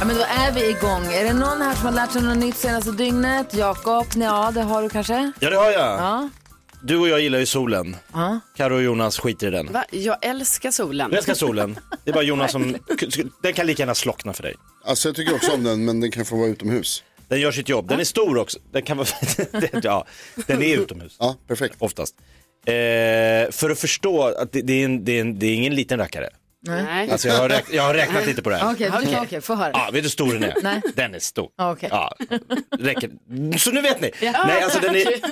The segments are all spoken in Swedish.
Ja, men då är vi igång. Är det någon här som har lärt sig något nytt senaste dygnet? Jakob? Ja, det har du kanske? Ja det har jag. Ja. Du och jag gillar ju solen. Ja. Karo och Jonas skiter i den. Va? Jag älskar solen. Jag älskar solen. Det är bara Jonas som, den kan lika gärna slockna för dig. Alltså jag tycker också om den, men den kan få vara utomhus. Den gör sitt jobb, den är stor också. Den kan vara, ja, den är utomhus Ja, perfekt. oftast. Eh, för att förstå att det, det, är en, det, är en, det är ingen liten rackare. Nej. Alltså jag har, räk, jag har räknat lite på det här. Okej, okay, få höra. Ja, vet du hur stor den är? Nej. Den är stor. Ja, okej. Ja, räcker. Så nu vet ni. Nej, alltså den är Är, är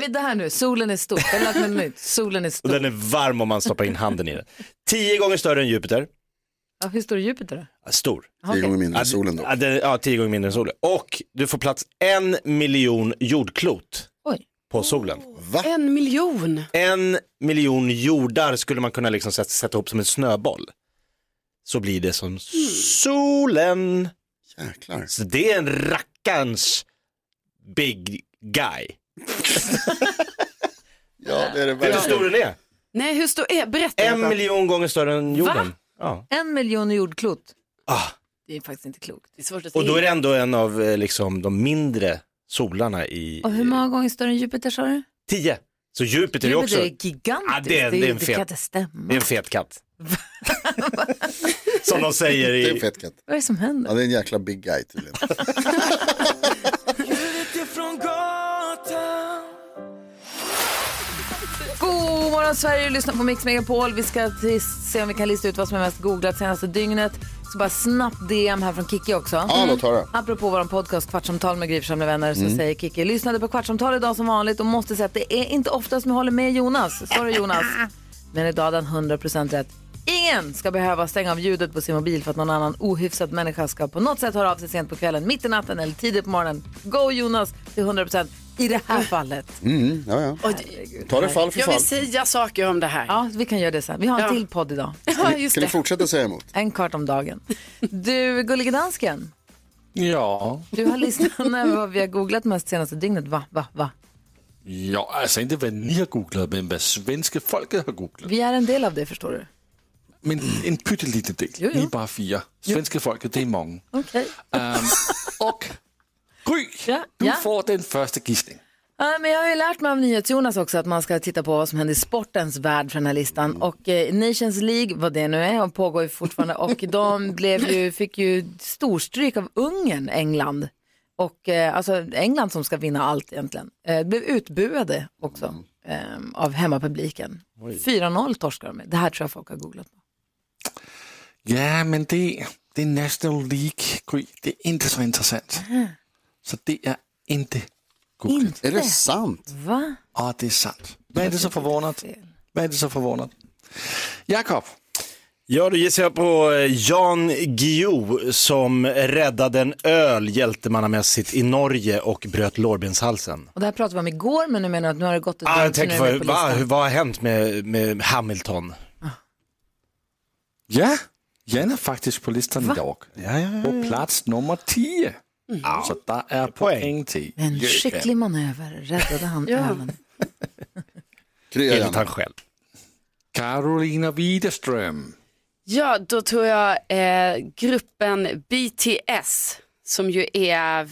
vi 10 där nu? Solen är stor. Jag har lärt mig något nytt. Solen är och stor. den är varm om man stoppar in handen i den. 10 gånger större än Jupiter. Ja, hur stor är Jupiter då? Stor. Tio gånger mindre än solen då. Ja, det, ja, tio gånger mindre än solen. Och du får plats en miljon jordklot Oj. på solen. Va? En miljon. En miljon jordar skulle man kunna liksom sätta, sätta ihop som en snöboll. Så blir det som solen. Jäklar. Så det är en rackarns big guy. Ja, det är det Vet du hur verkligen. stor den är? Nej, hur stor är Berätta. En Jakob. miljon gånger större än jorden. Ja. En miljon jordklot. Ah. Det är faktiskt inte klokt. Det är svårt att Och då är säga. det ändå en av eh, liksom, de mindre solarna i Och hur många gånger större än Jupiter sa du? tio. Så Jupiter är Jupiter också är gigantiskt. Ja, det är- det är en det fet- kan inte stämma. Det är en fet katt. Som de säger Det är i... en fet katt. Vad är det som händer? Ja, det är en jäkla big guy tydligen. God morgon Sverige, lyssna på Mix Megapol. Vi ska till- se om vi kan lista ut vad som är mest googlat senaste dygnet. Så bara snabbt DM här från Kiki också. Ja, låt Mm. höra. Apropå vår podcast Kvartsamtal med Gry Forssell med vänner så säger Kiki, lyssnade på Kvartsamtal idag som vanligt och måste säga att det är inte ofta som jag håller med Jonas. Sorry Jonas. Men idag hade han 100% rätt. Ingen ska behöva stänga av ljudet på sin mobil för att någon annan ohyfsad människa ska på något sätt höra av sig sent på kvällen, mitt i natten eller tidigt på morgonen. Go Jonas till 100% i det här fallet. Mm, ja, ja. Ta det fall för Jag fall. vill säga saker om det här. Ja, vi kan göra det sen. Vi har en Ja. till podd idag. Ja, Ni- just Kan ni det. fortsätta säga emot? En kvart om dagen. Du, Gullige Dansken, Ja, du har listan över vad vi har googlat mest senaste dygnet. Va, va, va? ja, alltså inte vad ni har googlat, men vad svenska folket har googlat. Vi är en del av det förstår du. Men en pytteliten del, Jo, jo. ni är bara fyra. Svenska folket, det är många. Okej. Ehm, och Gry, Ja, du ja. får den första gissningen. Ja, men jag har ju lärt mig av NyhetsJonas också att man ska titta på vad som händer i sportens värld för den här listan. Och eh, Nations League, vad det nu är, och pågår ju fortfarande. Och de blev ju, fick ju storstryk av Ungern, England. Och eh, alltså England som ska vinna allt egentligen. Eh, blev utbuade också eh, av hemmapubliken. 4-0 torskar de med. Det här tror jag folk har googlat på. Ja, men det, det är National League, Gry. Det är inte så intressant. Så det är inte googlat. Är det sant? Va? Ja, det är sant. Vad är det så förvånat? Vad är det så förvånat? Jakob, Ja, då gissar jag på eh, Jan Guillou som räddade en öl hjältemannamässigt i Norge och bröt lårbenshalsen. Och det här pratade vi om igår, men nu menar jag att nu har det gått ett Ah, jag så nu tänker, är det med vad, på vad, listan. vad har hänt med, med Hamilton? Ja, Jan är faktiskt på listan idag. På plats nummer 10. Så där är poäng till. En skicklig manöver räddade han ölen. Krya Enligt gärna. han själv. Carolina Widerström. Ja, då tror jag eh, gruppen BTS som ju är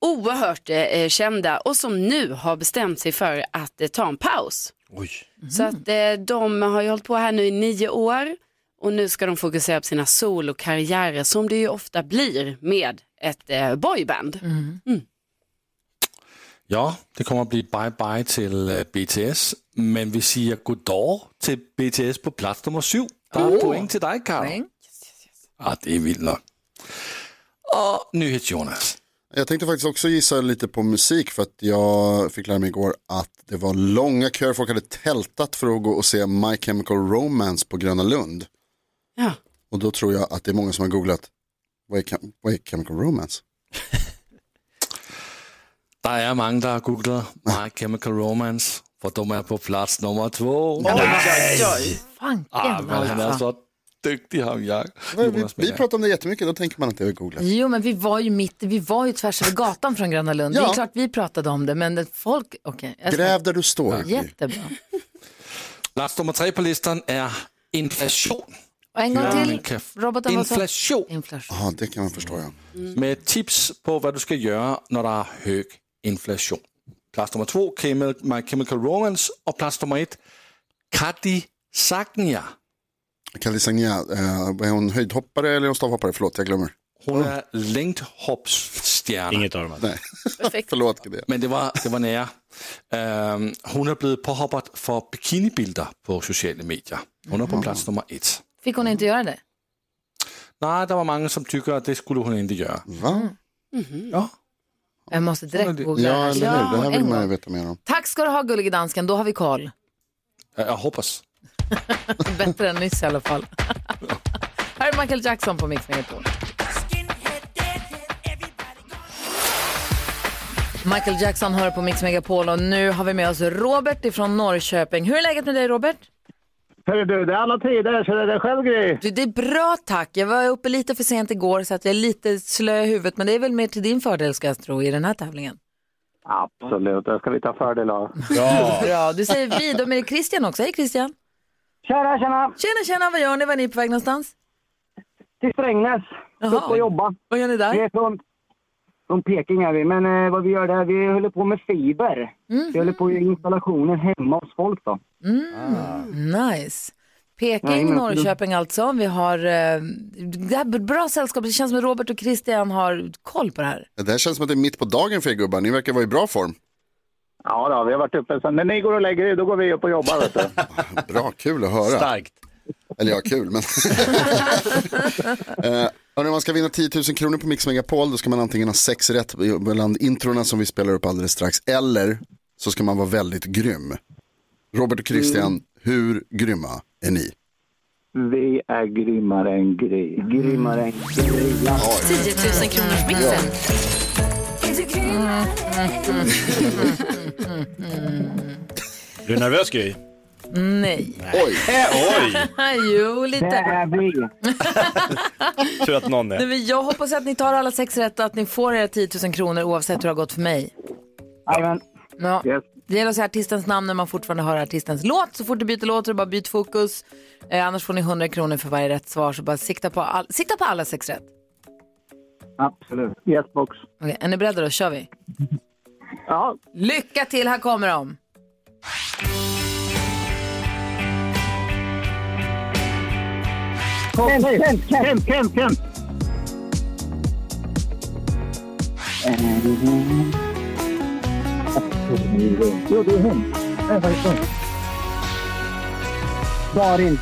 oerhört eh, kända och som nu har bestämt sig för att eh, ta en paus. Oj. Så att eh, de har ju hållit på här nu i nio år och nu ska de fokusera på sina solokarriärer som det ju ofta blir med ett eh, boyband. Mm. Ja, det kommer att bli bye-bye till eh, BTS. Men vi säger goddag till BTS på plats nummer 7. Där är poäng till dig, Carl. Poäng. Ja, det är vilt nog. Och NyhetsJonas. Jag tänkte faktiskt också gissa lite på musik för att jag fick lära mig igår att det var långa köer. Folk hade tältat för att gå och se My Chemical Romance på Gröna Lund. Ja. Och då tror jag att det är många som har googlat, vad är, Chem- vad är Chemical Romance? Der er mange, der har googlet My Chemical Romance, for de er på plads nummer två. Fanken Ah, men han är alltså. så dygtig, han jag. Vi, vi pratar om det jättemycket, då tänker man att det är googlat. Jo, men vi var ju mitt, vi var ju tvärs över gatan från Gröna Lund. Det Ja. är klart vi pratade om det, men det- folk, okej. jag ska- Gräv där du står. Jättebra. Plats nummer tre på listan är inflation. Och en gång Men till, kan- roboten vad sa- Inflation. Inflation. Ja, det kan man förstå ja. med tips på vad du ska göra när det är hög inflation. Plats nummer två, Chemi- My Chemical Romance. Och plats nummer ett, Kati Sagnia. Kalle Sagna, eh, är hon höjdhoppare eller är hon stavhoppare? Förlåt, jag glömmer. Hon är längdhoppsstjärna. Inget av dem. Nej. Förlåt, det. Men det var, det var nära. Ehm, hon har blivit påhoppad för bikinibilder på sociala medier. Hon är på plats nummer ett. Fick hon inte göra det? Nej, det var många som tycker att det skulle hon inte göra. Va? Ja. Jag måste direkt googla Ja, det eller hur? här. Det här vill en man ju gång. veta mer om. Tack ska du ha gullige dansken, då har vi koll. Jag jag hoppas. Bättre än nyss i alla fall. här är Michael Jackson på Mix Megapol. Michael Jackson hör på Mix Megapol och nu har vi med oss Robert ifrån Norrköping. Hur är läget med dig Robert? Hörru du, det är alla tider så det är det själv grej. Du, det är bra tack. Jag var uppe lite för sent igår så att jag är lite slö i huvudet men det är väl mer till din fördel ska jag tro i den här tävlingen. Absolut, det ska vi ta fördel av. Bra, du säger vi, då är det Christian också. Hej Christian! Tjena, tjena! Tjena tjena, vad gör ni? Var är ni på väg någonstans? Till Strängnäs, Jaha. upp och jobba. Vad gör ni Vi där? är från, från Peking är vi, men eh, vad vi gör där, vi håller på med fiber. Vi håller på med installationer hemma hos folk då. Nice. Nej, Peking, men- Norrköping alltså. Vi har eh, det här är bra sällskap. Det känns som att Robert och Christian har koll på det här. Det här känns som att det är mitt på dagen för er gubbar. Ni verkar vara i bra form. Ja då, vi har varit uppe sen. När ni går och lägger er, då går vi upp och jobbar vet du. Bra, kul att höra. Starkt. Eller ja, kul, men... eh, om man ska vinna 10 000 kronor på Mix Megapol då ska man antingen ha sex rätt bland introna som vi spelar upp alldeles strax, eller så ska man vara väldigt grym. Robert och Christian, hur grymma är ni? Vi är grymmare än grej. Grymmare än grej. Mm. 10 000 kronors mixen. Är du nervös Gry? Nej. Oj, Oj, jo, Det lite. är vi. tur att någon är. Nej, men jag hoppas att ni tar alla sex rätt och att ni får era 10 000 kronor oavsett hur det har gått för mig. Jajamän. Ja. Yes. Det gäller att säga artistens namn när man fortfarande hör artistens låt. Så fort du byter låt så är det bara byt fokus. Eh, annars får ni 100 kronor för varje rätt svar. Så bara sikta på, all- sikta på alla sex rätt. Absolut. Yes box. Okej, är ni beredda då? kör vi. Ja, Lycka till, här kommer de. Kent, Kent, Kent, Kent, Kent. Jo, det är hon. Det är faktiskt hon. Darin.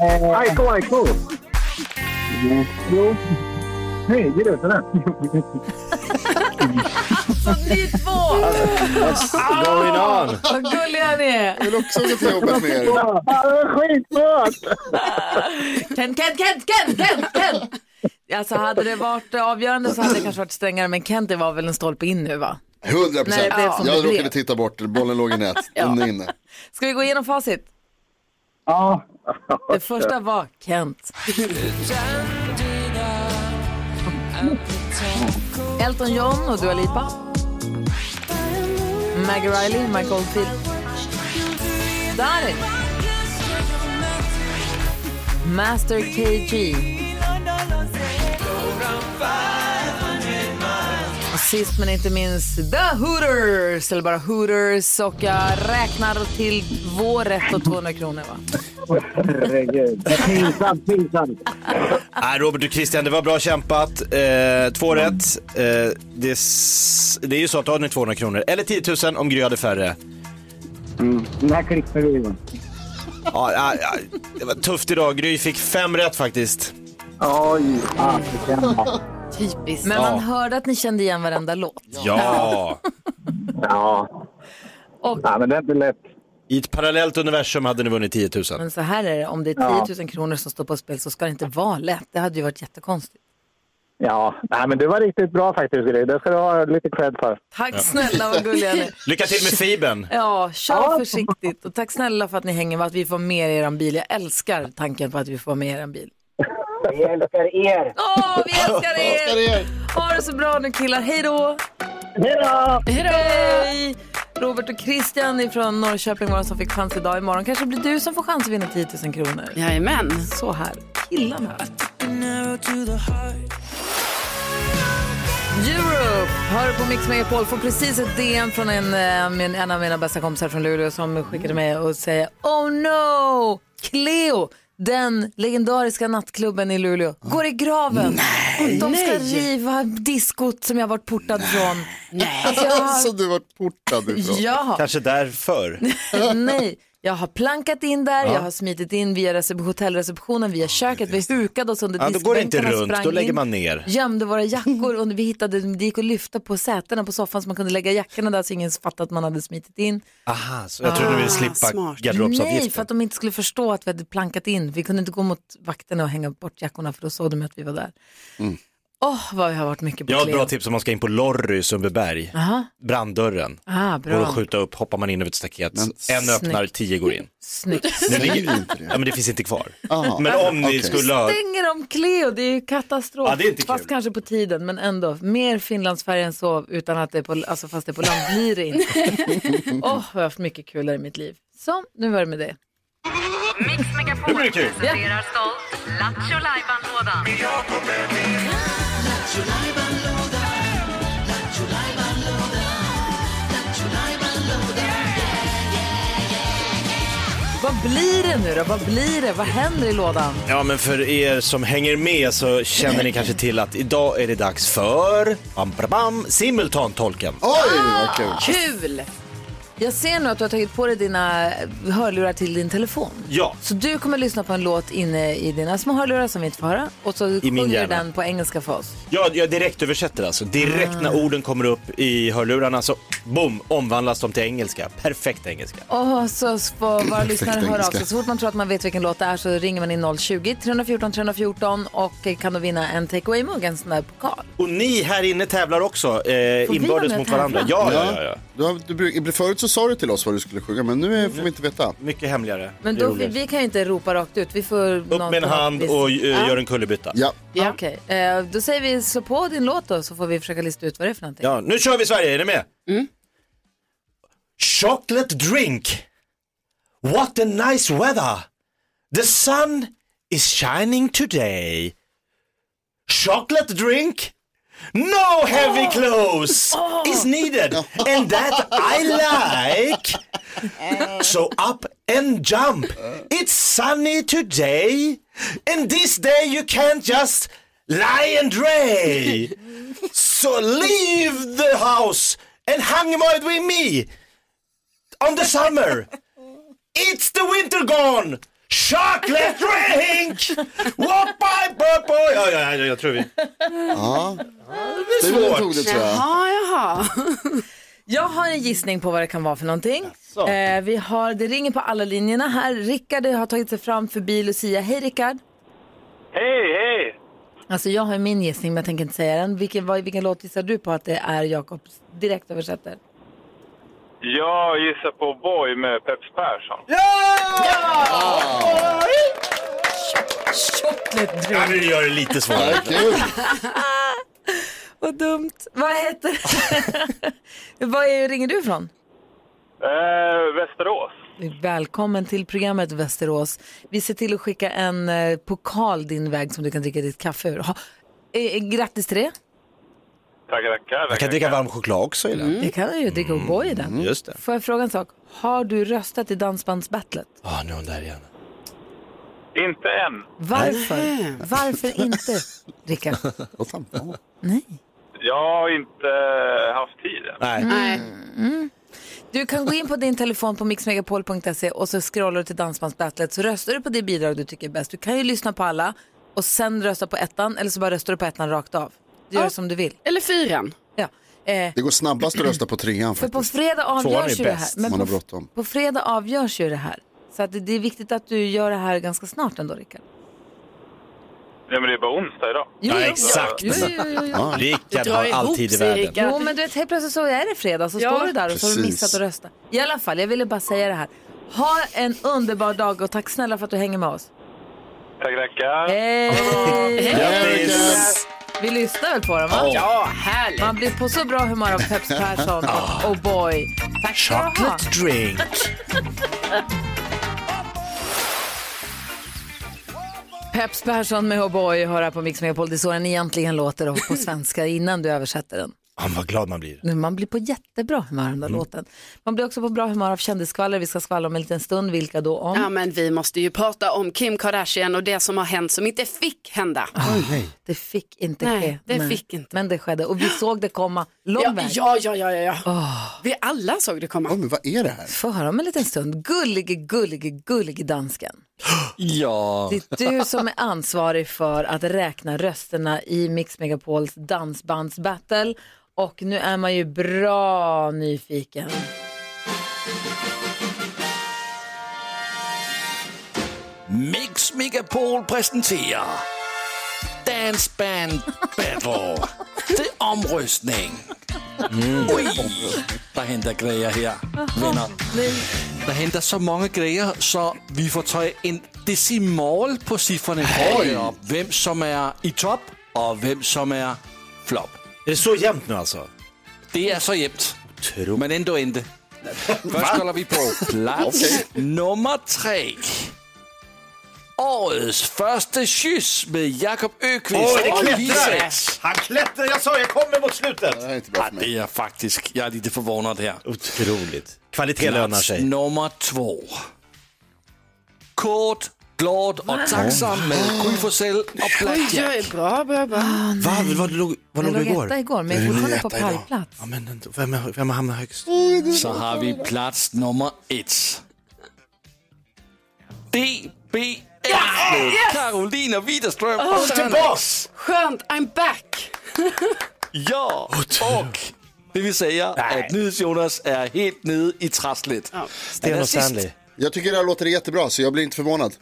Eh, Aiko, Aiko. Jo. Nej, det är du. sådär. Ni två! What's going on? Vad gulliga ni är! jag vill också att jag har jobbat med er. Ja, Det är skitsvårt! Ken, Ken, Ken, Ken, Ken, Ken! Alltså hade det varit avgörande så hade det kanske varit strängare men Kent det var väl en stolpe in nu va? 100 Nej, procent. det blev som det Jag blev. råkade titta bort, bollen låg i nät. Den är inne. Ska vi gå igenom facit? Ja. Det första var Kent. Elton John och Dua Lipa. Maggie Riley, Mike Oldfield. Darin. Master KG. Och sist men inte minst The Hooters, eller bara Hooters. Och jag räknar till vår rätt och 200 kronor va? Herregud. Pinsamt, pinsamt. Nej, Robert och Christian, det var bra kämpat. Eh, två rätt. Eh, det, s- det är ju så att du har nu 200 kronor, eller 10 000 om Gry hade färre. Den här klipper vi. va? Ja, ja, ja, det var tufft idag. Gry fick fem rätt faktiskt. Oj, fasiken. Typiskt. Men man Ja. hörde att ni kände igen varenda låt. Ja! Ja. Och- Nej, men det är inte lätt. I ett parallellt universum hade ni vunnit 10 000. Men så här är det, om det är 10 000 kronor som står på spel så ska det inte vara lätt. Det hade ju varit jättekonstigt. Ja, nej, men du var riktigt bra faktiskt Gry. Det ska du ha lite cred för. Tack snälla vad gulliga ni Lycka till med fibern. Ja, kör försiktigt. Och tack snälla för att ni hänger med, att vi får med er en bil. Jag älskar tanken på att vi får med er en bil. Vi älskar er! Åh, vi älskar er! Ha det så bra nu killar, hej då! Hej då! Hej! Robert och Christian från Norrköping var de som fick chans idag. Imorgon kanske blir du som får chans att vinna 10 000 kronor. Jajamän. Så här, killarna. Europe hör på Mix Megapol. Får precis ett DM från en, eh, min, en av mina bästa kompisar från Luleå som skickade mig och säger Oh no! Cleo, den legendariska nattklubben i Luleå, går i graven. Nej. De ska Nej. riva diskot som jag varit portad från. Alltså, Nej. Så du var portad ifrån. Ja. Kanske därför. Nej, jag har plankat in där, jag har smitit in via recep- hotellreceptionen, via köket, vi hukade oss under Ja, då går det inte diskbänkarna, runt, sprang då lägger in, man ner. Gömde våra jackor, och vi hittade, det gick att lyfta på sätena på soffan så man kunde lägga jackorna där så ingen fattade att man hade smitit in. Aha, så jag trodde du ville slippa Ah, smart. Nej, för garderobsavgiften. att de inte skulle förstå att vi hade plankat in. Vi kunde inte gå mot vakterna och hänga bort jackorna för då såg de att vi var där. Mm. Åh, vad vi har varit mycket på Jag har ett Cleo. bra tips om man ska in på Lorry i Sundbyberg. Aha. Branddörren. Ah, Går att bra. skjuta upp, hoppar man in över ett staket. en snyggt. öppnar, tio går in. Snyggt. Nu ligger... Ja men det finns inte kvar. Aha. Men om ni Okej. skulle ha... Stänger de Cleo, det är ju katastrof. Ja, det är inte kul. fast kanske på tiden, men ändå. Mer Finlandsfärja än så, utan att det är på, alltså fast det är på land blir det inte. Åh, jag har haft mycket kul i mitt liv. Så, nu var det med det. Mix Megapol Nu blir det kul. presenterar stolt Lattjo Lajban-lådan. Vad blir det nu då? Vad blir det? Vad händer i lådan? Ja men för er som hänger med så känner ni kanske till att idag är det dags för bam, bam, bam, simultantolken. Ah! Kul! Jag ser nu att du har tagit på dig dina hörlurar till din telefon. Ja. Så du kommer lyssna på en låt inne i dina små hörlurar som vi inte får höra och så sjunger du hjärna. den på engelska för oss. Jag, jag direkt översätter alltså. Direkt Ah. när orden kommer upp i hörlurarna så boom, omvandlas de till engelska. Perfekt engelska. Och så får våra lyssnare Perfekt höra av engelska. sig. Så fort man tror att man vet vilken låt det är så ringer man in 020 314 314 och eh, kan då vinna en takeaway-mugg, en sån där pokal. Och ni här inne tävlar också, Får eh, vi vara inbördes med mot och varandra. tävla? Ja, ja, ja. ja. Du har, du, bruk- förut så sa du till oss vad du skulle sjunga, men nu är, får vi inte veta. Mycket hemligare. Men då, vi, vi kan ju inte ropa rakt ut. Vi får Upp med en hand och eh, gör en kullerbytta. Ja. Ja. Okej, eh, då säger vi slå på din låt då så får vi försöka lista ut vad det är för någonting. ja. Nu kör vi Sverige, är ni med? Chocolate drink. What a nice weather. The sun is shining today. Chocolate drink. No heavy clothes is needed. And that I like. So up and jump. It's sunny today. And this day you can't just lie and dray. So leave the house and hang out with me. On the summer. It's the winter gone. Chocolate drink! What by purple... Ja, ja, ja, jag tror vi... Ja. Det är svårt. tog det, tror jag. Jaha, jaha. jag har en gissning på vad det kan vara för någonting. Eh, vi har, det ringer på alla linjerna här. Rickard har tagit sig fram förbi Lucia. Hej Rickard! Hej, hej! Alltså jag har min gissning men jag tänker inte säga den. Vilken, vad, vilken låt gissar du på att det är Jakob direkt översätter? Jag gissar på Boy med Peps Persson. Chocolate drink. Ja, vi gör det lite svårare. Vad dumt. Vad heter Vad är, ringer du ifrån? Eh, Västerås. Välkommen till programmet Västerås. Vi ser till att skicka en eh, pokal din väg som du kan dricka ditt kaffe ur. Ha, eh, eh, grattis till det. Tackar, tackar. Man kan dricka varm choklad också i den. Det kan du ju, dricka O'boy i den. Mm. Just det. Får jag fråga en sak? Har du röstat i Dansbandsbattlet? Ja, nu är hon där igen. Inte än. Varför? Varför inte, Rickard? Nej. Jag har inte eh, haft tid än. Nej. Mm. Du kan gå in på din telefon på mixmegapol.se och så scrollar du till Dansbandsbattlet så röstar du på det bidrag du tycker är bäst. Du kan ju lyssna på alla och sen rösta på ettan eller så bara röstar du på ettan rakt av. Du gör som du vill. Eller fyran. Ja. Eh, Det går snabbast att rösta på trean för faktiskt. på fredag avgörs ju det här. Man har på, bråttom. på fredag avgörs ju det här. Så att det, det är viktigt att du gör det här ganska snart ändå, Rickard. Ja, men det är bara onsdag idag. Jo, ja, jo. exakt. Jo, jo, jo, jo. Ja. Rickard har alltid i världen. Jo, men du vet, helt plötsligt så är det fredag så Ja, står du där och så har du precis. missat att rösta. I alla fall, jag ville bara säga det här. Ha en underbar dag och tack snälla för att du hänger med oss. Tack, tackar. Hej! Grattis! Vi lyssnar väl på dem, va? Ja. Ja, härligt. Man blir på så bra humör av Peps Persson och oh boy. Tack ska du ha. Chocolate drink. Peps Persson med oh boy hör här på Mix Megapol. Det är så den egentligen låter och på svenska innan du översätter den. Ja, vad glad man blir. Nu, Man blir på jättebra humör av den där Mm. låten. Man blir också på bra humör av kändisskvaller. Vi ska skvallra om en liten stund. Vilka då om? Ja, men vi måste ju prata om Kim Kardashian och det som har hänt som inte fick hända. Ah. Det fick inte Nej, ske. det fick inte. Men det skedde och vi såg det komma lång Ja, väg. ja, ja, ja, ja. Ah. Vi alla såg det Oh komma. men vad är det här? Få höra om en liten stund. Gullige, gullige, gullige dansken. Ja. Det är du som är ansvarig för att räkna rösterna i Mix Megapols dansbandsbattle. Och nu är man ju bra nyfiken. Mix Megapol præsenterer Dance Band Battle til omrøstning. Mm. Ui, der henter grejer her, venner. Der henter så mange grejer, så vi får taget en decimal på cifrene hey. op. Hvem som er i top, og hvem som er flop. Det er så jævnt nu alltså. altså? Det er så jævnt. Men endnu ikke. Først holder vi på plads nummer tre. Årets første kyss med Jakob Økvist Åh, det og Lisa. klättrar! Han klättrar! Jag sa jag kommer mot slutet! Ja, det er faktisk, jeg er lidt forvågnet her. Otroligt. Kvalitet lönar Plats sig. nummer två. Kort, glad og taksam med Gry Forssell og Blackjack. bra, bra, bra. Ah. Va? Var låg, var Jag låg du låg igår? etta igår, men Du jag är låg fortfarande på etta idag. pallplats. Ja, men vem, är- vem hamnar högst? Så har vi plats nummer ett. DBF med Karolina Widerström Åh, och Sanna. tillbaks! Skönt, I'm back. Ja, och det vill säga att NyhetsJonas är helt nede i trasslet. Ja. Jag tycker det här låter jättebra så jag blir inte förvånad.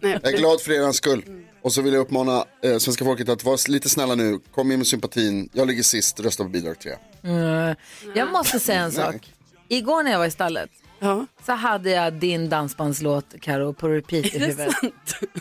Jag är glad för er skull. Och så vill jag uppmana eh, svenska folket att vara lite snälla nu. Kom in med sympatin. Jag ligger sist, rösta på bidrag 3. Mm. Jag måste säga en sak. Igår när jag var i stallet så hade jag din dansbandslåt, Karo på repeat i det huvudet.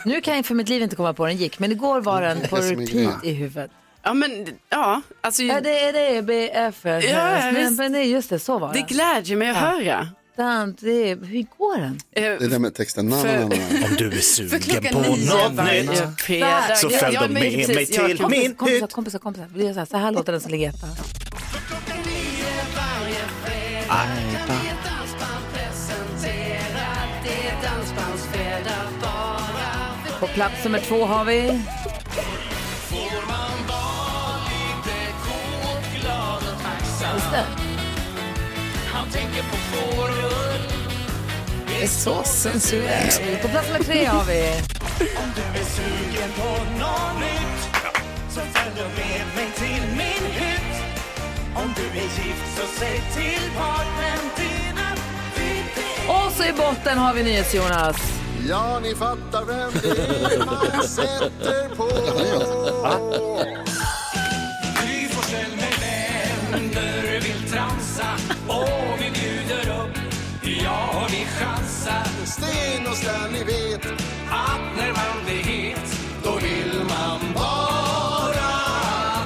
Nu kan jag för mitt liv inte komma på hur den gick, men igår var den Mm, Det på är som repeat grejen. i huvudet. Ja, men ja, alltså. Ja, det är det, BF. Ja, visst. men det är just det, så var Det glädjer mig att höra. Dan, det, hur går den? Det där med texten. Na, na, na, na. Om du är sugen klockan på nio något varje nytt fredag. så Ja, följ ja, då med men precis, mig jag- till kompisar, min kompisar, kompisar, kompisar. Vi gör så här, så här låter den som ligger etta. På plats nummer två har vi... Just det. Det är så sensuellt. På plats nummer tre har vi... Och så i botten har vi NyhetsJonas. Ja, ni fattar vem det är man sätter på. Gry Forssell med vänner vill tramsa och vi bjuder upp, ja vi chansar. Sten och Stan, ni vet att när man blir het, då vill man bara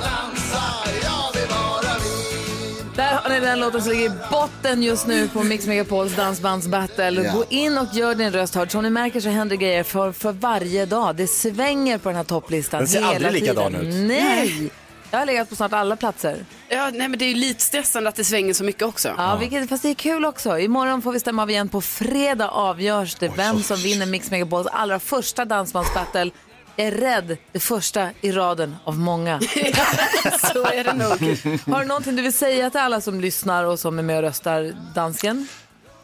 dansa. Ja, det bara vi. Där har ni den låten som ligger i botten just nu på Mix Megapols dansbandsbattle. Ja. Gå in och gör din röst hörd. Som ni märker så händer grejer för, för varje dag. Det svänger på den här topplistan Den ser hela aldrig tiden. likadan ut. Nej! Jag har legat på snart alla platser. Ja, nej, men det är ju lite stressande att det svänger så mycket också. Ja, vilket, fast det är kul också. Imorgon får vi stämma av igen. På fredag avgörs det vem som vinner Mix Megapols allra första dansbandsbattle. Jag är rädd det första i raden av många. så är det nog. Har du någonting du vill säga till alla som lyssnar och som är med och röstar dansken?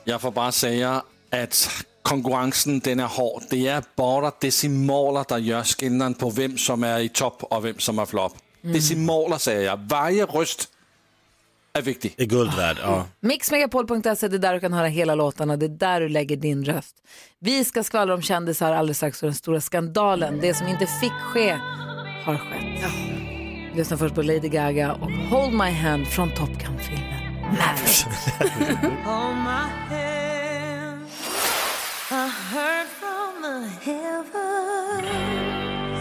Jeg får bare sige, at konkurrencen den er hård. Det er bare decimaler, der gør skillnaden på, hvem som er i top og hvem som er flop. Decimaler, sagde jeg. Varje røst är viktig. Är guld värd, Ah, ja. Mixmegapol.se, det är där du kan höra hela låtarna, det är där du lägger din röst. Vi ska skvallra om kändisar alldeles strax för den stora skandalen, det som inte fick ske har skett. Lyssna först på Lady Gaga och Hold My Hand från Top Gun-filmen Maverick. Hold my hand. I heard from the heavens.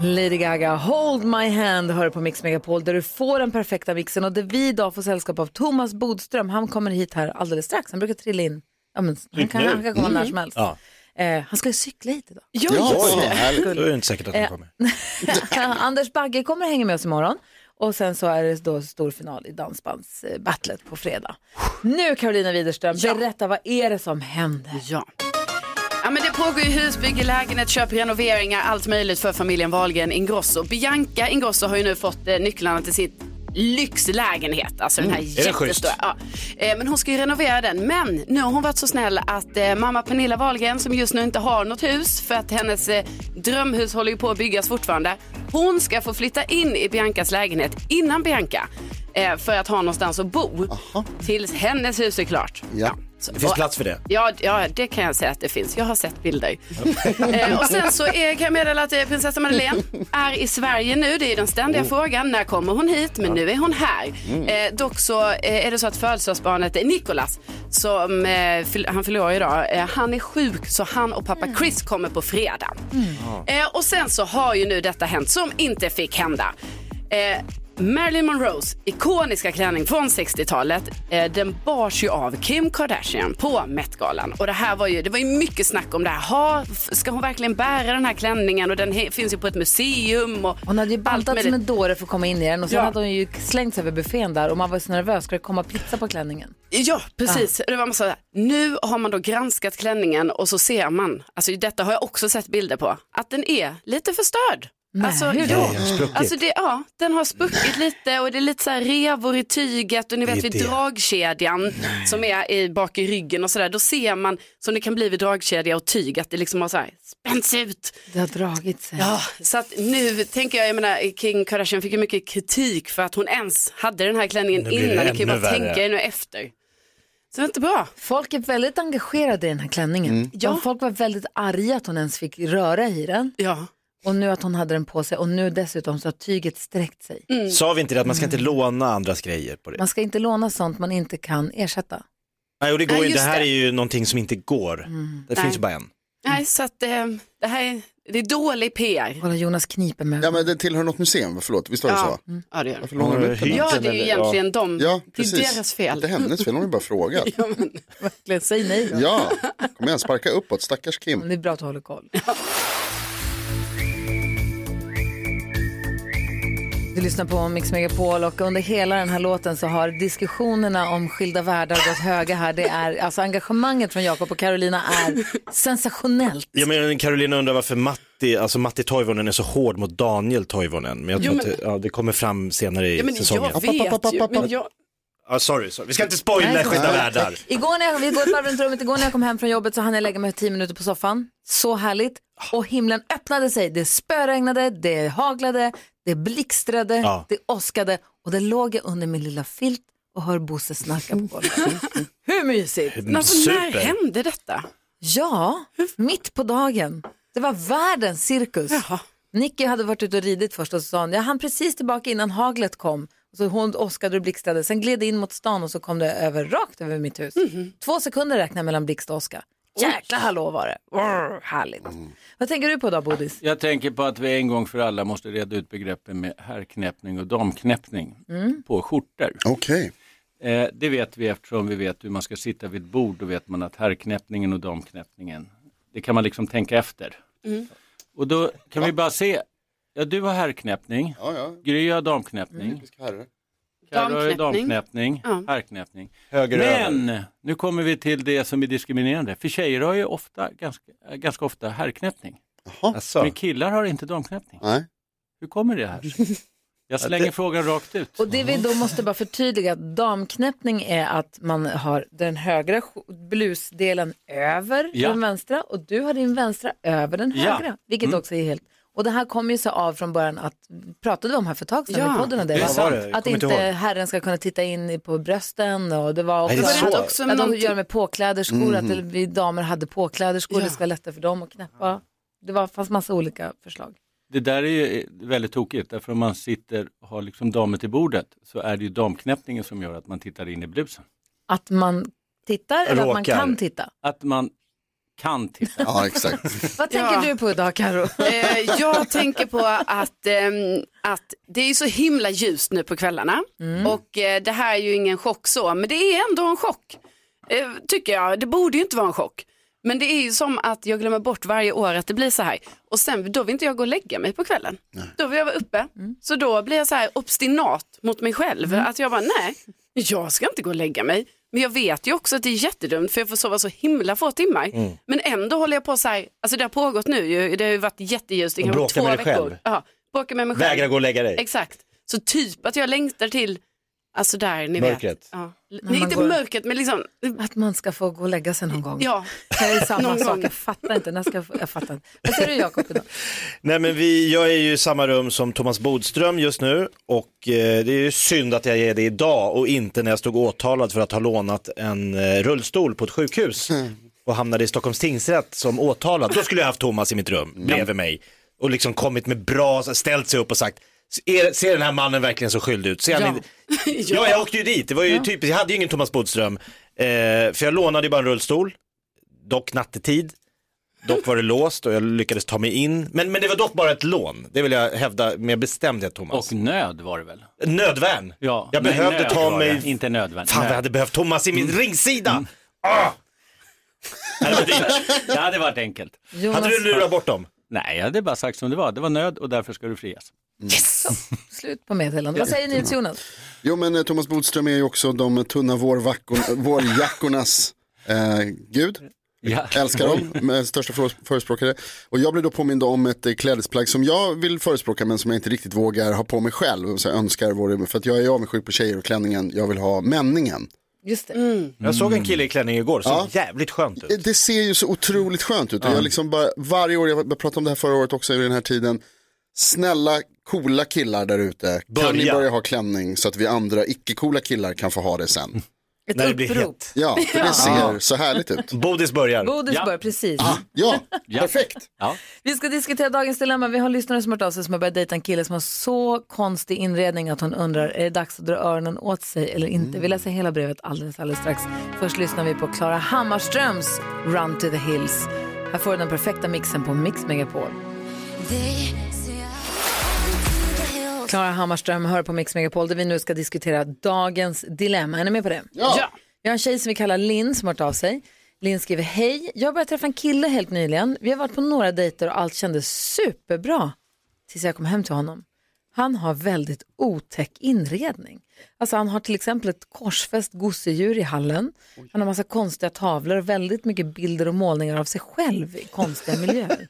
Lady Gaga, Hold My Hand hör du på Mix Megapol där du får den perfekta mixen och där vi idag får sällskap av Thomas Bodström. Han kommer hit här alldeles strax, han brukar trilla in. Ja, men, han, kan, han kan komma när som helst. Ja. Eh, han ska ju cykla hit idag. Oj, härligt. Då är det inte säkert att han Eh, kommer. Anders Bagge kommer hänga med oss imorgon. Och sen så är det då stor final i Dansbandsbattlet på fredag. Nu Carolina Widerström, berätta vad är det som händer? Ja. Ja, men det pågår ju husbygge, lägenhet, köp, renoveringar, allt möjligt för familjen Wahlgren Ingrosso. Bianca Ingrosso har ju nu fått eh, nycklarna till sitt lyxlägenhet. Alltså den här Mm, är det schysst? jättestora. Ja. Eh, Men hon ska ju renovera den. Men nu har hon varit så snäll att eh, mamma Pernilla Wahlgren som just nu inte har något hus för att hennes eh, drömhus håller ju på att byggas fortfarande. Hon ska få flytta in i Biancas lägenhet innan Bianca eh, för att ha någonstans att bo. Tills hennes hus är klart. Ja. Det finns plats för det. Ja, ja, det kan jag säga att det finns. Jag har sett bilder. eh, och sen så är, kan jag meddela att eh, prinsessa Madeleine är i Sverige nu. Det är den ständiga Oh. frågan. När kommer hon hit? Men nu är hon här. Mm. Eh, dock så eh, är det så att födelsedagsbarnet eh, Nicolas, som eh, fyll, han fyller år idag, eh, han är sjuk så han och pappa Chris kommer på fredag. Mm. Eh, och sen så har ju nu detta hänt som inte fick hända. Eh, Marilyn Monroes ikoniska klänning från 60-talet, eh, den bars ju av Kim Kardashian på Met-galan. Och det här var ju, det var ju mycket snack om det här. Ha, f- ska hon verkligen bära den här klänningen? Och den he- finns ju på ett museum. Och Hon hade ju bantat med som det. en dåre för att komma in i den och sen Ja. hade hon ju slängt sig över buffén där och man var så nervös, ska det komma pizza på klänningen? Ja, precis. Det var en massa, nu har man då granskat klänningen och så ser man, alltså detta har jag också sett bilder på, att den är lite förstörd. Nej, alltså, hur då? ja. Nej, den har spruckit. alltså det, ja, den har spruckit lite och det är lite så här revor i tyget och ni Det är vet vid det. dragkedjan som är i, bak i ryggen och sådär, då ser man som det kan bli vid dragkedja och tyg att det liksom har så här spänts ut. Det har dragit sig. Ja, så att nu tänker jag, jag menar Kim Kardashian fick ju mycket kritik för att hon ens hade den här klänningen Nu blir det innan, ni kan ju bara ännu värre. tänka er nu efter. Så det är inte bra. Folk är väldigt engagerade i den här klänningen. Mm. Ja. De Folk var väldigt arga att hon ens fick röra i den. Ja. Och nu att hon hade den på sig och nu dessutom så har tyget sträckt sig. Mm. Sa vi inte det att man ska inte låna andras grejer på det? Man ska inte låna sånt man inte kan ersätta. Nej, och det går Nej, ju- Det just här det. Mm. är ju någonting som inte går. Det Nej. finns ju bara en. Nej, så att eh, det här är, det är dålig PR. Kolla Jonas kniper med Ja men den tillhör något museum, va? förlåt, visst var det Ja. så? Ja, det gör Varför lånar de ut den? Ja, det är ju egentligen ja. dem. Ja, det är precis. deras fel. Inte hennes fel, hon har ju bara frågat. Verkligen, säg nej då. Ja, kom igen, sparka uppåt, stackars Kim. Det är bra att du håller koll. Du lyssnar på Mix Megapol och under hela den här låten så har diskussionerna om skilda världar gått höga här. Det är, alltså engagemanget från Jakob och Carolina är sensationellt. Ja, men Carolina undrar varför Matti, alltså Matti Toivonen är så hård mot Daniel Toivonen. Men jag Jo, tror men- att det- ja, det kommer fram senare i Ja, men säsongen. jag vet ju, men jag, Ja, sorry, sorry, vi ska inte spoila skilda världar. Igår när jag, vi går ett varv runt rummet, igår när jag kom hem från jobbet så hann jag lägga mig tio minuter på soffan. Så härligt. Och himlen öppnade sig. Det spöregnade, det haglade, det blixtrade, Ja. det åskade och där låg jag under min lilla filt och hör Bosse snacka på golvet. Hur mysigt? Men alltså, när Super. hände detta? Ja, mitt på dagen. Det var världens cirkus. Nicky hade varit ute och ridit först och så sa hon, jag hann precis tillbaka innan haglet kom. Så hon åskade och blixtrade, sen gled det in mot stan och så kom det över rakt över mitt hus. Två sekunder räknar mellan blixt och åska. Jäkla hallå var det. Brr, härligt. Vad tänker du på då Bodis? Jag tänker på att vi en gång för alla måste reda ut begreppen med herrknäppning och damknäppning Mm. på skjortor. Okej. Eh, det vet vi eftersom vi vet hur man ska sitta vid ett bord. Då vet man att herrknäppningen och damknäppningen, det kan man liksom tänka efter. Mm. Och då kan vi bara se, ja du har herrknäppning, Gry har damknäppning, Mm, Carro har ju Damknäppning. damknäppning, Ja. herrknäppning. Höger Men nu kommer vi till det som är diskriminerande, för tjejer har ju ofta, ganska, äh, ganska ofta herrknäppning. Men killar har inte damknäppning. Hur kommer det här sig? Jag slänger frågan rakt ut. Och det vi då måste bara förtydliga, att damknäppning är att man har den högra sk- blusdelen över Ja. den vänstra och du har din vänstra över den Ja. högra, vilket Mm. också är helt... Och det här kom ju sig av från början att, pratade vi om här för ett tag sedan Ja, i podden och det, det är sant. Jag att kommer inte inte ihåg. herren ska kunna titta in på brösten och det var Nej, också, det är så. att, Också att de någonting- gör med påkläderskor, Mm. att det- Mhm. vi damer hade påkläderskor, det ska vara lättare för dem att knäppa. Det var, fanns massa olika förslag. Det där är ju eh, väldigt tokigt, därför om man sitter och har liksom damen till bordet så är det ju damknäppningen som gör att man tittar in i blusen. Att man tittar eller att man Råkar. kan titta. Att man kan titta. Ja, exakt. Vad tänker Ja. du på idag Karo? Eh, jag tänker på att, ehm, att det är ju så himla ljust nu på kvällarna och eh, det här är ju ingen chock så, men det är ändå en chock. Eh, tycker jag, det borde ju inte vara en chock. Men det är ju som att jag glömmer bort varje år att det blir så här. Och sen då vill inte jag gå och lägga mig på kvällen. Då vill jag vara uppe. Mm. Så då blir jag så här obstinat mot mig själv. Att jag bara, nej, jag ska inte gå och lägga mig. Men jag vet ju också att det är jättedumt för jag får sova så himla få timmar. Mm. Men ändå håller jag på så här, alltså det har pågått nu ju, det har ju varit jätteljust i Och kanske bråkar två med dig veckor. själv. Ja, bråkar med mig själv. Vägrar gå och lägga dig. Exakt. Så typ att jag längtar till, alltså där ni Mörkret. vet. Ja. man Nej, inte går- mörkret men liksom. Att man ska få gå och lägga sig någon gång. Ja. Det är samma Någon sak, gång. jag fattar inte. När ska jag, få- jag fattar inte. Vad säger du Jakob? Nej men vi, jag är ju i samma rum som Thomas Bodström just nu och eh, det är ju synd att jag är det idag och inte när jag stod åtalad för att ha lånat en eh, rullstol på ett sjukhus och hamnade i Stockholms tingsrätt som åtalad. Då skulle jag haft Thomas i mitt rum bredvid mig och liksom kommit med bra, ställt sig upp och sagt "Är- Ser den här mannen verkligen så skyldig ut? Ser han inte... Ja, jag åkte ju dit. Det var ju typiskt. Jag hade ju ingen Thomas Bodström. Eh, för jag lånade ju bara en rullstol, dock nattetid. Dock var det låst och jag lyckades ta mig in. Men, men det var dock bara ett lån. Det vill jag hävda med bestämdhet Thomas. Och nöd var det väl? Nödvärn. Ja, Jag nej, behövde nöd ta var mig... det. Inte Mm. nödvärn. Fan nöd. jag hade behövt Thomas i min ringsida. Det hade varit dyrt. Det hade varit enkelt. Jonas- Hade du lurat bort dem? Nej, jag hade bara sagt som det var. Det var nöd och därför ska du frias. Slut på meddelandet. Vad säger ni Jonas? Jo men eh, Thomas Bodström är ju också de tunna vårvackor- vårjackornas eh, gud. Älskar dem, eh, största för- förespråkare. Och jag blev då påmind om ett eh, klädesplagg som jag vill förespråka men som jag inte riktigt vågar ha på mig själv. Så jag önskar vore, för att jag är avundsjuk på tjejer och klänningen, jag vill ha männingen. Just det. Jag såg en kille i klänning igår, såg Ja. jävligt skönt ut. Eh, Det ser ju så otroligt skönt ut. Och jag liksom bara, varje år, jag pratade om det här förra året också i den här tiden. Snälla coola killar där ute, kan ni Börja. börja ha klänning så att vi andra icke-coola killar kan få ha det sen? Ett När det blir upprop. hett. Ja, för Ja. det ser så härligt ut. Bodis börjar. Bodis börjar, precis. Ja, Ja. perfekt. Ja. Vi ska diskutera dagens dilemma. Vi har en lyssnare som har hört av sig som har börjat dejta en kille som har så konstig inredning att hon undrar är det dags att dra öronen åt sig eller inte. Vi läser hela brevet alldeles, alldeles strax. Först lyssnar vi på Klara Hammarströms Run to the Hills. Här får du den perfekta mixen på Mix Megapol. Klara Hammarström hör på Mix Megapol där vi nu ska diskutera dagens dilemma. Är ni med på det? Ja. Ja. Vi har en tjej som vi kallar Linn som har hört av sig. Linn skriver hej, jag började träffa en kille helt nyligen. Vi har varit på några dejter och allt kändes superbra tills jag kom hem till honom. Han har väldigt otäck inredning. Alltså han har till exempel ett korsfäst gosedjur i hallen. Han har massa konstiga tavlor och väldigt mycket bilder och målningar av sig själv i konstiga miljöer.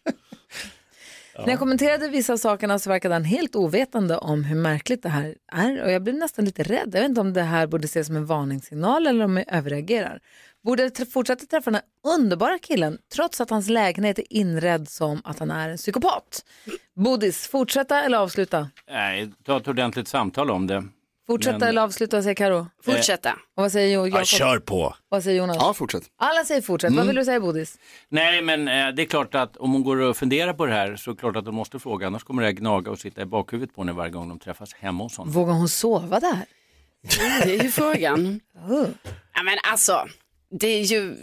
När jag kommenterade vissa av sakerna så verkade han helt ovetande om hur märkligt det här är och jag blev nästan lite rädd. Jag vet inte om det här borde ses som en varningssignal eller om jag överreagerar. Borde jag trä- fortsätta träffa den här underbara killen trots att hans lägenhet är inredd som att han är en psykopat? Bodis, fortsätta eller avsluta? Nej, ta ett ordentligt samtal om det. Fortsätta Men- eller avsluta, vad säger Karo? Fortsätta. Och vad säger Jakob? på. Vad säger Jonas? fortsätt. Alla säger fortsätt. Vad Mm. vill du säga Bodis? Nej, men eh, det är klart att om hon går och funderar på det här så är det klart att hon måste fråga. Annars kommer det här gnaga och sitta i bakhuvudet på henne varje gång de träffas hemma hos honom. Vågar hon sova där? Det är ju frågan. Oh. Ja, men alltså, det, är ju,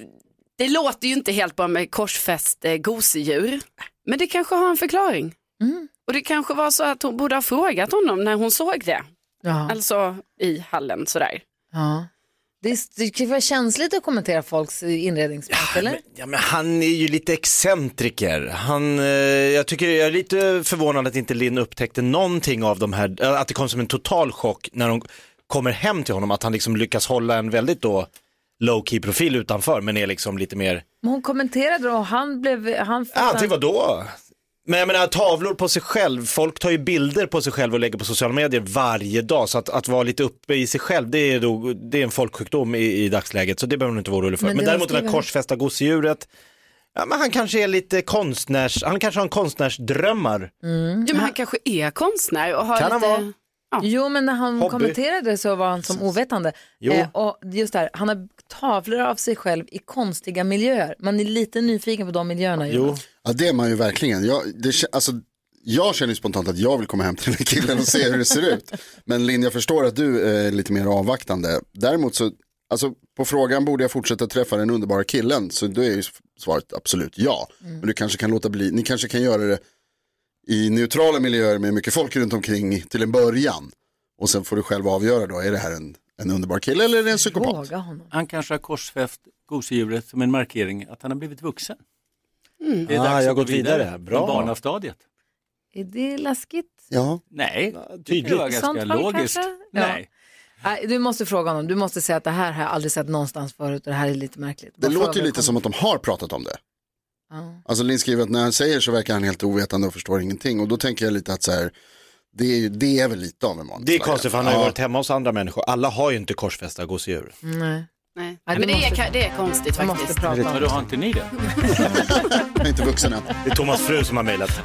det låter ju inte helt bra med korsfäst eh, gosedjur. Men det kanske har en förklaring. Mm. Och det kanske var så att hon borde ha frågat honom när hon såg det. Ja. Alltså i hallen sådär. Ja. Det, är, det kan ju vara känsligt att kommentera folks inredningsplats, eller? Ja, men han är ju lite excentriker. Han, eh, jag, tycker, jag är lite förvånad att inte Linn upptäckte någonting av de här, eh, att det kom som en total chock när hon kommer hem till honom, att han liksom lyckas hålla en väldigt då low key profil utanför men är liksom lite mer, Men hon kommenterade och han blev... Han ja ah, till vadå? Men jag menar tavlor på sig själv, folk tar ju bilder på sig själv och lägger på sociala medier varje dag så att, att vara lite uppe i sig själv det är, då, det är en folksjukdom i, i dagsläget så det behöver man inte vara orolig för. Men Men, det de däremot det här skriver- korsfästa gosedjuret, Ja, men han kanske är lite konstnärs, han kanske har en konstnärsdrömmar. Mm. Jo, men han kanske är konstnär och har Kan han lite... vara. Jo, men när han Hobby. kommenterade det så var han som ovetande. Jo. Eh, och just där, han har tavlor av sig själv i konstiga miljöer. Man är lite nyfiken på de miljöerna. Jonas. Ja, det är man ju verkligen. Jag, det, kä- alltså, jag känner ju spontant att jag vill komma hem till den här killen och se hur det ser ut. Men Linn, jag förstår att du är lite mer avvaktande. Däremot så, alltså, på frågan borde jag fortsätta träffa den underbara killen, så då är ju svaret absolut ja. Men du kanske kan låta bli, ni kanske kan göra det i neutrala miljöer med mycket folk runt omkring till en början. Och sen får du själv avgöra då, är det här en, en underbar kille eller är det en psykopat? Han kanske har korsfäst gosedjuret som en markering att han har blivit vuxen. Mm. Det är Ah, dags jag att har gå gått vidare. vidare. Bra. I barnastadiet. Är det läskigt? Ja. Nej, I det var ett ganska sånt fall logiskt. kanske? Ja. Nej. Nej, du måste fråga honom. Du måste säga att det här har jag aldrig sett någonstans förut och det här är lite märkligt. Det Bara fråga låter ju var lite kommer- som att de har pratat om det. Ja. Alltså Linn skriver att när han säger så verkar han helt ovetande och förstår ingenting. Och då tänker jag lite att så här, det är, ju- det är väl lite av en vanlig Det är slaggare. konstigt för han har ju Ja. varit hemma hos andra människor. Alla har ju inte korsfästa gosedjur. Nej. Nej. Men det, är, det är konstigt måste faktiskt. prata om Vadå, har inte ni det? Jag är inte vuxen än. Det är Thomas fru som har mejlat.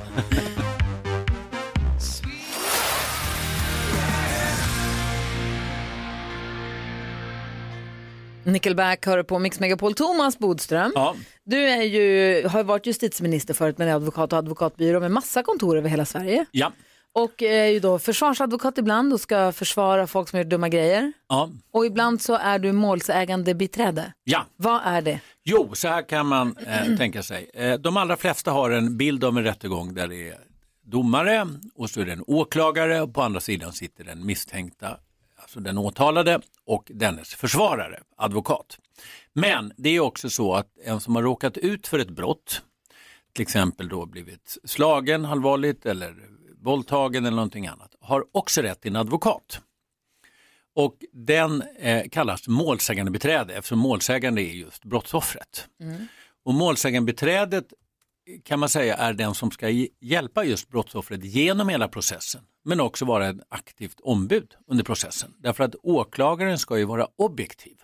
Nickelback hör på Mix Megapol. Thomas Bodström, du är ju, har ju varit justitieminister förut men är advokat och advokatbyrå med massa kontor över hela Sverige. Ja. Och är ju då försvarsadvokat ibland och ska försvara folk som gör dumma grejer. Ja. Och ibland så är du målsägande biträde. ja. Vad är det? Jo, så här kan man eh, tänka sig. Eh, de allra flesta har en bild av en rättegång där det är domare och så är det en åklagare och på andra sidan sitter den misstänkta, alltså den åtalade och dennes försvarare, advokat. Men det är också så att en som har råkat ut för ett brott, till exempel då blivit slagen allvarligt eller våldtagen eller någonting annat, har också rätt till en advokat. Och den eh, kallas målsägande beträde eftersom målsägande är just brottsoffret. Och målsägandebiträdet kan man säga är den som ska hj- hjälpa just brottsoffret genom hela processen men också vara ett aktivt ombud under processen. Därför att åklagaren ska ju vara objektiv.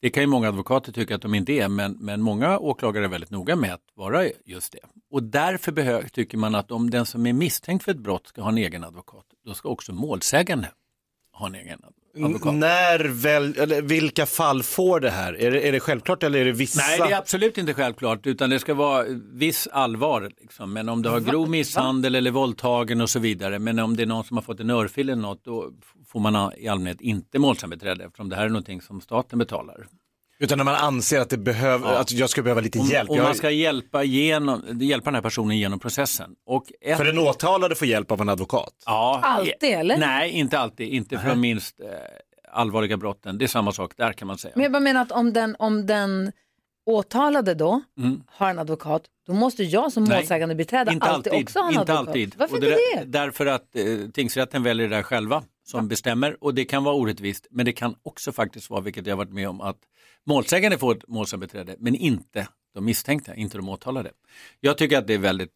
Det kan ju många advokater tycka att de inte är, men, men många åklagare är väldigt noga med att vara just det. Och därför behö- tycker man att om den som är misstänkt för ett brott ska ha en egen advokat, då ska också målsägande ha en egen advokat. När väl, eller vilka fall får det här? Är det, är det självklart eller är det vissa? Nej, det är absolut inte självklart, utan det ska vara viss allvar. Liksom. Men om du har grov misshandel eller våldtagen och så vidare, men om det är någon som har fått en örfil eller något, då får man ha- i allmänhet inte målsägandebiträde, eftersom det här är någonting som staten betalar. Utan när man anser att, det behöver, Ja. att jag skulle behöva lite Om- hjälp. om Jag- man ska hjälpa, genom, hjälpa den här personen genom processen. Och eh, ett... För den åtalade får hjälp av en advokat? Ja, Alltid, eller? Nej, inte alltid. Inte för de minst eh, allvarliga brotten. Det är samma sak där kan man säga. Men jag bara menar att om den, om den åtalade då Mm. har en advokat, då måste jag som Nej, målsägande biträde alltid, Inte alltid. också ha en inte advokat. alltid. Varför Och inte där- Därför att eh, tingsrätten väljer det där själva som bestämmer och det kan vara orättvist men det kan också faktiskt vara, vilket jag har varit med om, att målsägande får ett målsägandebiträde men inte de misstänkta, inte de åtalade. Jag tycker att det är väldigt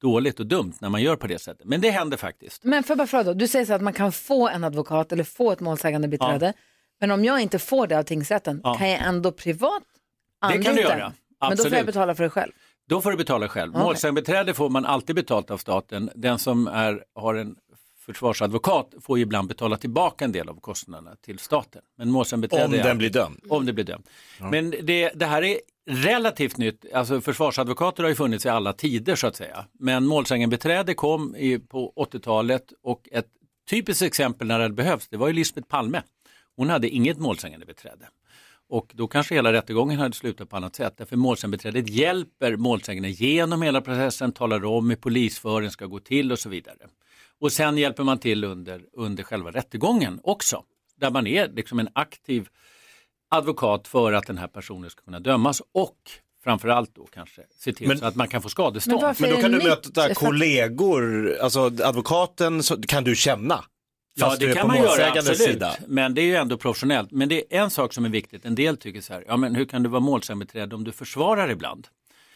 dåligt och dumt när man gör på det sättet, men det händer faktiskt. Men för bara fråga då, du säger så att man kan få en advokat eller få ett målsägande biträde. Men om jag inte får det av tingsrätten, Ja. kan jag ändå privat Det kan anlita? du göra, Men då får jag absolut. betala för det själv. Då får du betala själv. Okej. Målsägandebiträde får man alltid betalt av staten. Den som är, har en försvarsadvokat får ju ibland betala tillbaka en del av kostnaderna till staten. Men målsägandebiträde Om är- den blir dömd. Om det blir dömd. Men det, det här är relativt nytt. Alltså försvarsadvokater har ju funnits i alla tider så att säga. Men målsägandebiträde kom i, på 80-talet och ett typiskt exempel när det behövs, det var ju Lisbeth Palme. Hon hade inget målsägandebiträde. Och då kanske hela rättegången hade slutat på annat sätt. Därför målsägandebiträdet hjälper målsäganden genom hela processen, talar om hur polisföringen ska gå till och så vidare. Och sen hjälper man till under, under själva rättegången också. Där man är liksom en aktiv advokat för att den här personen ska kunna dömas och framförallt då kanske se till Men- så att man kan få Men skadestånd. varför Men då är kan det du nytt? För möta att- kollegor, alltså advokaten så, kan du känna. Ja, Fast det du är kan på man göra, målsägandens absolut. sida. Men det är ju ändå professionellt. Men det är en sak som är viktigt. En del tycker så här, ja men hur kan du vara målsägandebiträde om du försvarar ibland?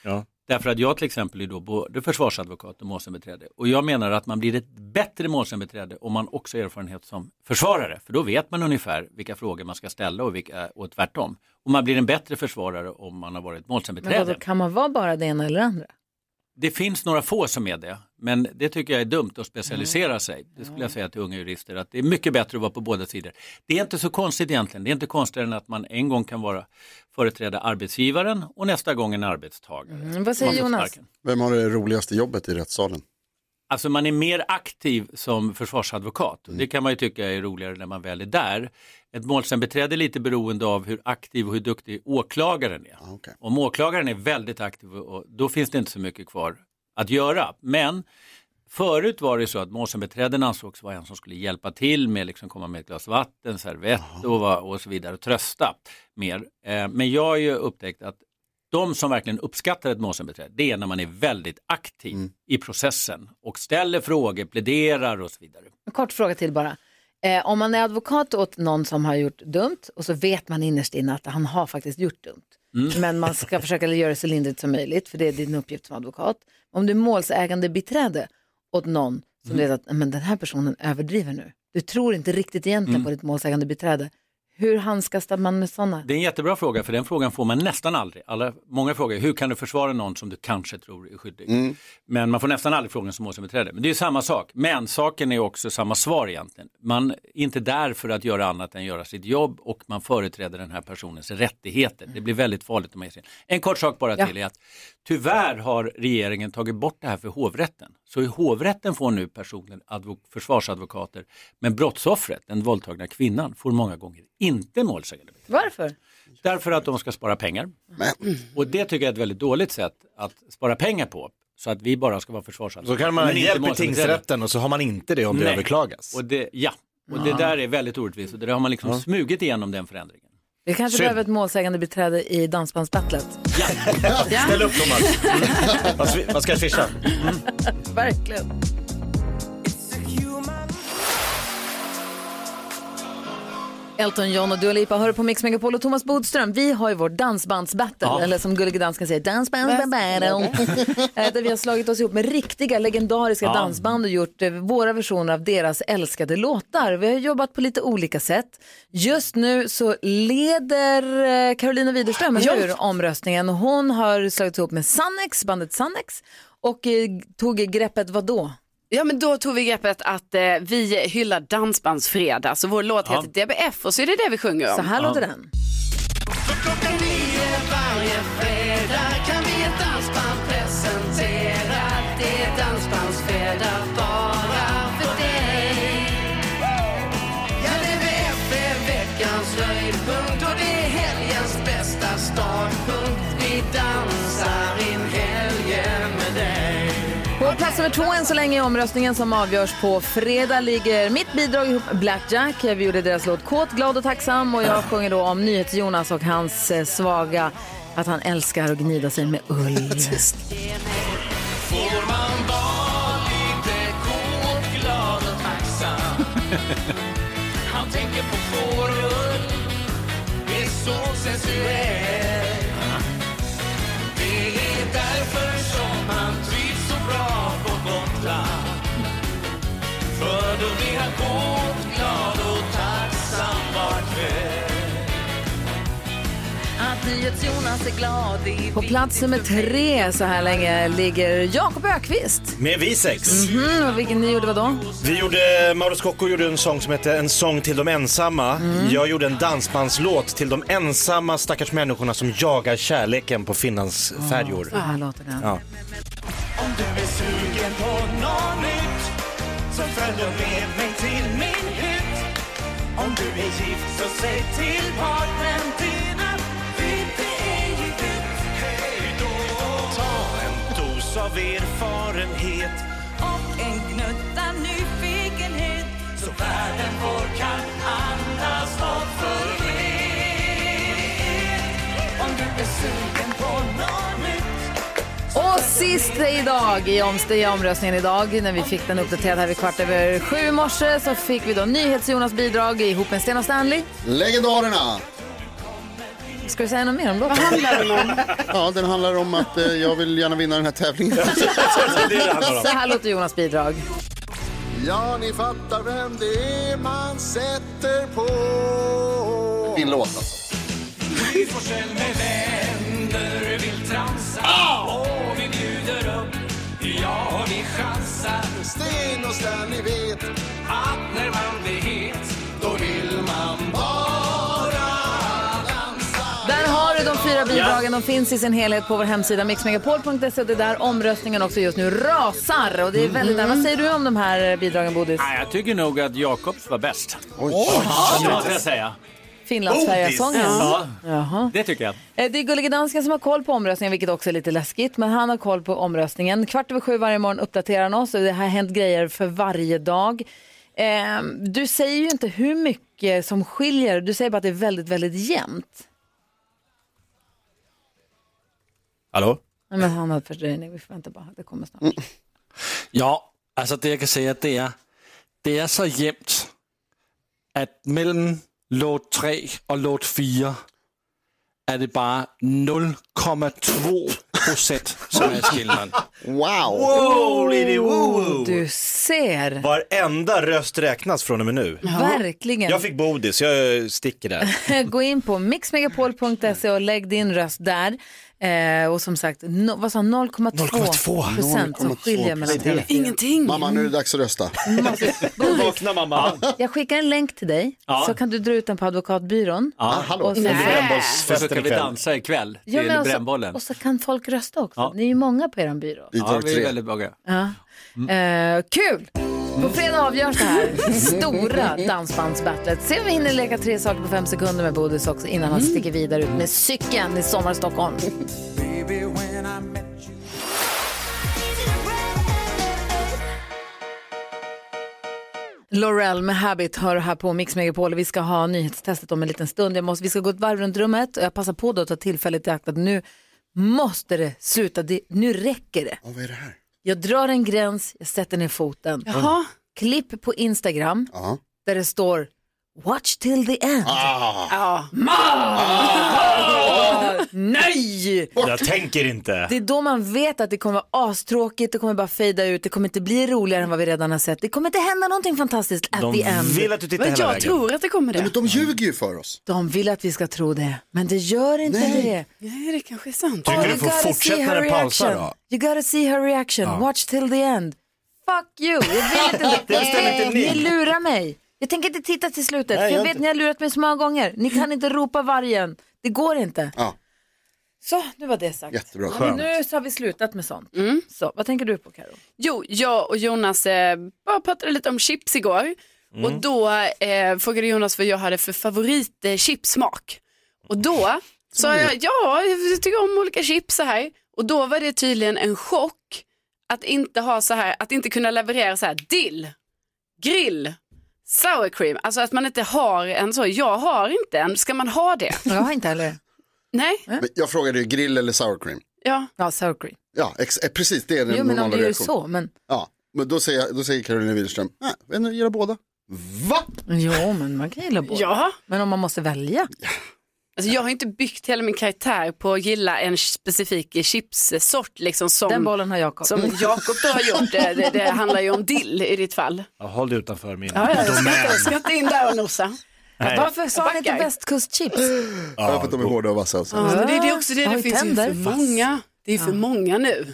Ja. Därför att jag till exempel är då både försvarsadvokat och målsägandebiträde. Och jag menar att man blir ett bättre målsägandebiträde om man också har erfarenhet som försvarare. För då vet man ungefär vilka frågor man ska ställa och, vilka, och tvärtom. Och man blir en bättre försvarare om man har varit Men vadå, målsägandebiträde. kan man vara bara det ena eller det andra? Det finns några få som är det, men det tycker jag är dumt att specialisera sig. Det skulle jag säga till unga jurister, att det är mycket bättre att vara på båda sidor. Det är inte så konstigt egentligen, det är inte konstigare än att man en gång kan vara företräda arbetsgivaren och nästa gång en arbetstagare. Mm, vad säger Man får Jonas? sparken. Vem har det roligaste jobbet i rättssalen? Alltså man är mer aktiv som försvarsadvokat. Och Det kan man ju tycka är roligare när man väl är där. Ett målsägandebiträde är lite beroende av hur aktiv och hur duktig åklagaren Ah, är. Om åklagaren är väldigt aktiv och, då finns det inte så mycket kvar att göra. Men förut var det så att målsägandebiträden ansågs vara en som skulle hjälpa till med liksom komma med ett glas vatten, servett och, va- och så vidare och trösta mer. Eh, men jag har ju upptäckt att de som verkligen uppskattar ett målsägandebiträde, det är när man är väldigt aktiv i processen och ställer frågor, pläderar och så vidare. En kort fråga till bara. Eh, om man är advokat åt någon som har gjort dumt och så vet man innerst inne att han har faktiskt gjort dumt. Mm. Men man ska försöka göra det så lindrigt som möjligt för det är din uppgift som advokat. Om du är målsägande biträde åt någon som Mm. vet att men den här personen överdriver nu. Du tror inte riktigt egentligen Mm. på ditt målsägande biträde. Hur handskas man med sådana? Det är en jättebra fråga, för den frågan får man nästan aldrig. Alla, många frågar hur kan du försvara någon som du kanske tror är skyldig? Mm. Men man får nästan aldrig frågan som målsägandebiträde. Men det är ju samma sak. Men saken är också samma svar egentligen. Man är inte där för att göra annat än göra sitt jobb och man företräder den här personens rättigheter. Det blir väldigt farligt om man ger sig in. En kort sak bara Ja. till är att tyvärr har regeringen tagit bort det här för hovrätten. Så i hovrätten får nu personen advo- försvarsadvokater, men brottsoffret, den våldtagna kvinnan, får många gånger inte målsägandebiträde. Varför? Därför att de ska spara pengar. Och det tycker jag är ett väldigt dåligt sätt att spara pengar på. Så att vi bara ska vara försvarsadvokater. Så kan man ha Men inte hjälp i målsägandebiträde. tingsrätten och så har man inte det om det Nej. överklagas. Och det, ja, Eh, och det Ah. där är väldigt orättvist och det där har man liksom smugit igenom den förändringen. Vi kanske Synd. behöver ett målsägande biträde i dansbandsbattlet. Ställ upp dem alltså. Vad swi- Vad ska jag swisha? Verkligen. Elton John och Dua Lipa hör på Mix Megapol och Thomas Bodström. Vi har ju vårt dansbandsbattle, Ja. eller som Gullige Dansken säger, dansbandsbattle. Eh, Där vi har slagit oss ihop med riktiga legendariska Ja. dansband och gjort eh, våra versioner av deras älskade låtar. Vi har jobbat på lite olika sätt. Just nu så leder eh, Carolina Widerström Ja. ur omröstningen. Hon har slagit ihop med Sannex, bandet Sannex och eh, tog greppet vad då? Ja men då tog vi greppet att eh, vi hyllar dansbandsfredag. Så vår låt Ja. heter DBF och så är det det vi sjunger om. Så här låter den. Varje fredag kan vi ett dansband presentera Det är dansbandsfredag bara för dig Ja, DVF är E, veckans höjdpunkt och det är helgens bästa startpunkt Vi dansar in helgen med dig På plats nummer två än så länge i omröstningen som avgörs på fredag ligger mitt bidrag ihop med Blackjack. Vi gjorde deras låt Kåt, glad och tacksam och jag sjunger då om NyhetsJonas och hans eh, svaga att han älskar att gnida sig med ull. Får man vara lite kåt, glad och tacksam Han tänker på fårull, det är så sensuellt Det är därför som han trivs så bra på Gotland För då blir han kåt, glad och tacksam var kväll Att NyhetsJonas är glad i På plats nummer tre så här länge ligger Jakob Ökvist. Med vi sex. Mhm, och vilken ni gjorde vadå? Vi gjorde, Mauro Scocco gjorde en sång som hette En sång till de ensamma. Mm. Jag gjorde en dansbandslåt till de ensamma stackars människorna som jagar kärleken på Finlands färjor. Så här låter den. Ja. Om du är sugen på något nytt så följ och med mig till min hytt Om du är gift så säg till partnern din att vi inte är ju ditt Hej då! Ta en dos av erfarenhet och en gnutta nyfikenhet så världen vår kan andas hopp för er Om du är sugen på något nytt Och sist idag i, omst- i omröstningen idag när vi fick den uppdaterad här vid kvart över sju i morse så fick vi då NyhetsJonas bidrag ihop med Sten och Stanley. Legendarerna! Ska du säga något mer om låten? Ja, den handlar om att eh, jag vill gärna vinna den här tävlingen. Så här låter Jonas bidrag. Ja, ni fattar vem det är man sätter på. Fin låt alltså. Gry Forssell med vänner vill tramsa Ah! och vi bjuder upp, ja vi chansar. Sten och Stan, ni vet att när man blir het, då vill man bara Där har du de fyra bidragen. De finns i sin helhet på vår hemsida mixmegapol.se. Och Det är där omröstningen också just nu rasar. Och det är väldigt nära. Vad säger du om de här bidragen, Bodis? Nej, jag tycker nog att Jakobs var bäst. Oj! Det måste jag säga. Finlandsfärja-sången. Ja. Jaha. Det tycker jag. Eh, Det är Gullige Dansken som har koll på omröstningen, vilket också är lite läskigt. Men han har koll på omröstningen. Kvart över sju varje morgon uppdaterar han oss och det har hänt grejer för varje dag. Eh, Du säger ju inte hur mycket som skiljer, du säger bara att det är väldigt, väldigt jämnt. Hallå? Nej, Men han har fördröjning, vi får vänta bara, det kommer snart. Ja, alltså det jag kan säga det är, det är så jämnt att mellan låt 3 och låt 4 är det bara 0,2 procent som är skillnaden. Wow! Wow, lady, Oh, wow. Du ser, Varenda röst räknas från och med nu. verkligen. Jag fick bodis, jag eh, sticker där. Gå in på mixmegapol.se och lägg din röst där. Eh, och som sagt, no, vad sa han, 0,2 procent som skiljer mellan alla fyra. Ingenting. Mamma, nu är det dags att rösta. Vakna mamma. Jag skickar en länk till dig Ja. så kan du dra ut den på advokatbyrån. Ja, Och så, Och så ska vi dansa ikväll till Ja, men och, så, brännbollen. och så kan folk rösta också. Ja. Ni är ju många på er byrå. Ja, vi är väldigt många. Ja. Eh, kul! På fredag avgörs det här stora dansbandsbattlet. Se om vi hinner leka tre saker på fem sekunder med Bodis också innan han sticker vidare ut med cykeln i Sommar Stockholm. Baby, when I met Laurel med Habit hör här på Mix Megapol. Vi ska ha nyhetstestet om en liten stund. Jag måste, vi ska gå ett varv runt rummet och jag passar på då att ta tillfället i akt att nu måste det sluta. Det, nu räcker det. Vad är det här? Jag drar en gräns, jag sätter ner foten. Jaha. Klipp på Instagram Ja. där det står Watch till the end. Ah. Man! Nej! Jag tänker inte. Det är då man vet att det kommer vara astråkigt, det kommer bara fejda ut, det kommer inte bli roligare än vad vi redan har sett. Det kommer inte hända någonting fantastiskt at De the end. vill att du tittar Men hela jag vägen. tror att det kommer Nej, men de ljuger ju för oss. De vill att vi ska tro det, men det gör inte Nej. det. Nej, det kanske är sant. Oh, you gotta see her reaction. You gotta see her reaction. Ja. Watch till the end. Fuck you. Jag vill inte. Det bestämmer inte ni. ni. lurar mig. Jag tänker inte titta till Nej, slutet. för jag jag vet inte. ni har lurat mig så många gånger. Ni kan inte ropa vargen. Det går inte. Ja. Så, nu var det sagt. Jättebra. Ja, Skönt. men nu så har vi slutat med sånt. Så, vad tänker du på Karo? Jo, jag och Jonas eh, bara pratade lite om chips igår Mm. och då eh, frågade Jonas vad jag hade för favorit eh, chipssmak. Och då sa jag, ja, jag tycker om olika chips så här. Och då var det tydligen en chock att inte ha så här, att inte kunna leverera så här dill, grill, sour cream. Alltså att man inte har en så, jag har inte en, ska man ha det? Jag har inte heller. Nej, Men jag frågade ju grill eller sour cream. ja. Ja, sour cream. Ja, ex- eh, precis det är den Jo, men normala om du gör reaktionen. så, men... Ja, men då säger, då säger Carolina Widerström, nej, vet du, gilla båda. Va? Jo, men man kan gilla båda. Ja. Men om man måste välja. Alltså jag har inte byggt hela min karaktär på att gilla en specifik chipssort. Liksom som, Den bollen har Jakob. Som Jakob då har gjort. Det, det, det handlar ju om dill i ditt fall. Ja, håll dig utanför min Ja, ja, jag ska, domän. inte, jag ska inte in där och nosa. Nej. Varför sa Jag han inte backar. västkustchips? Ja, för att de är hårda och vassa. Alltså. Ja, men det, det är också det, Har det vi finns ju för tänder? många. Det är för många nu.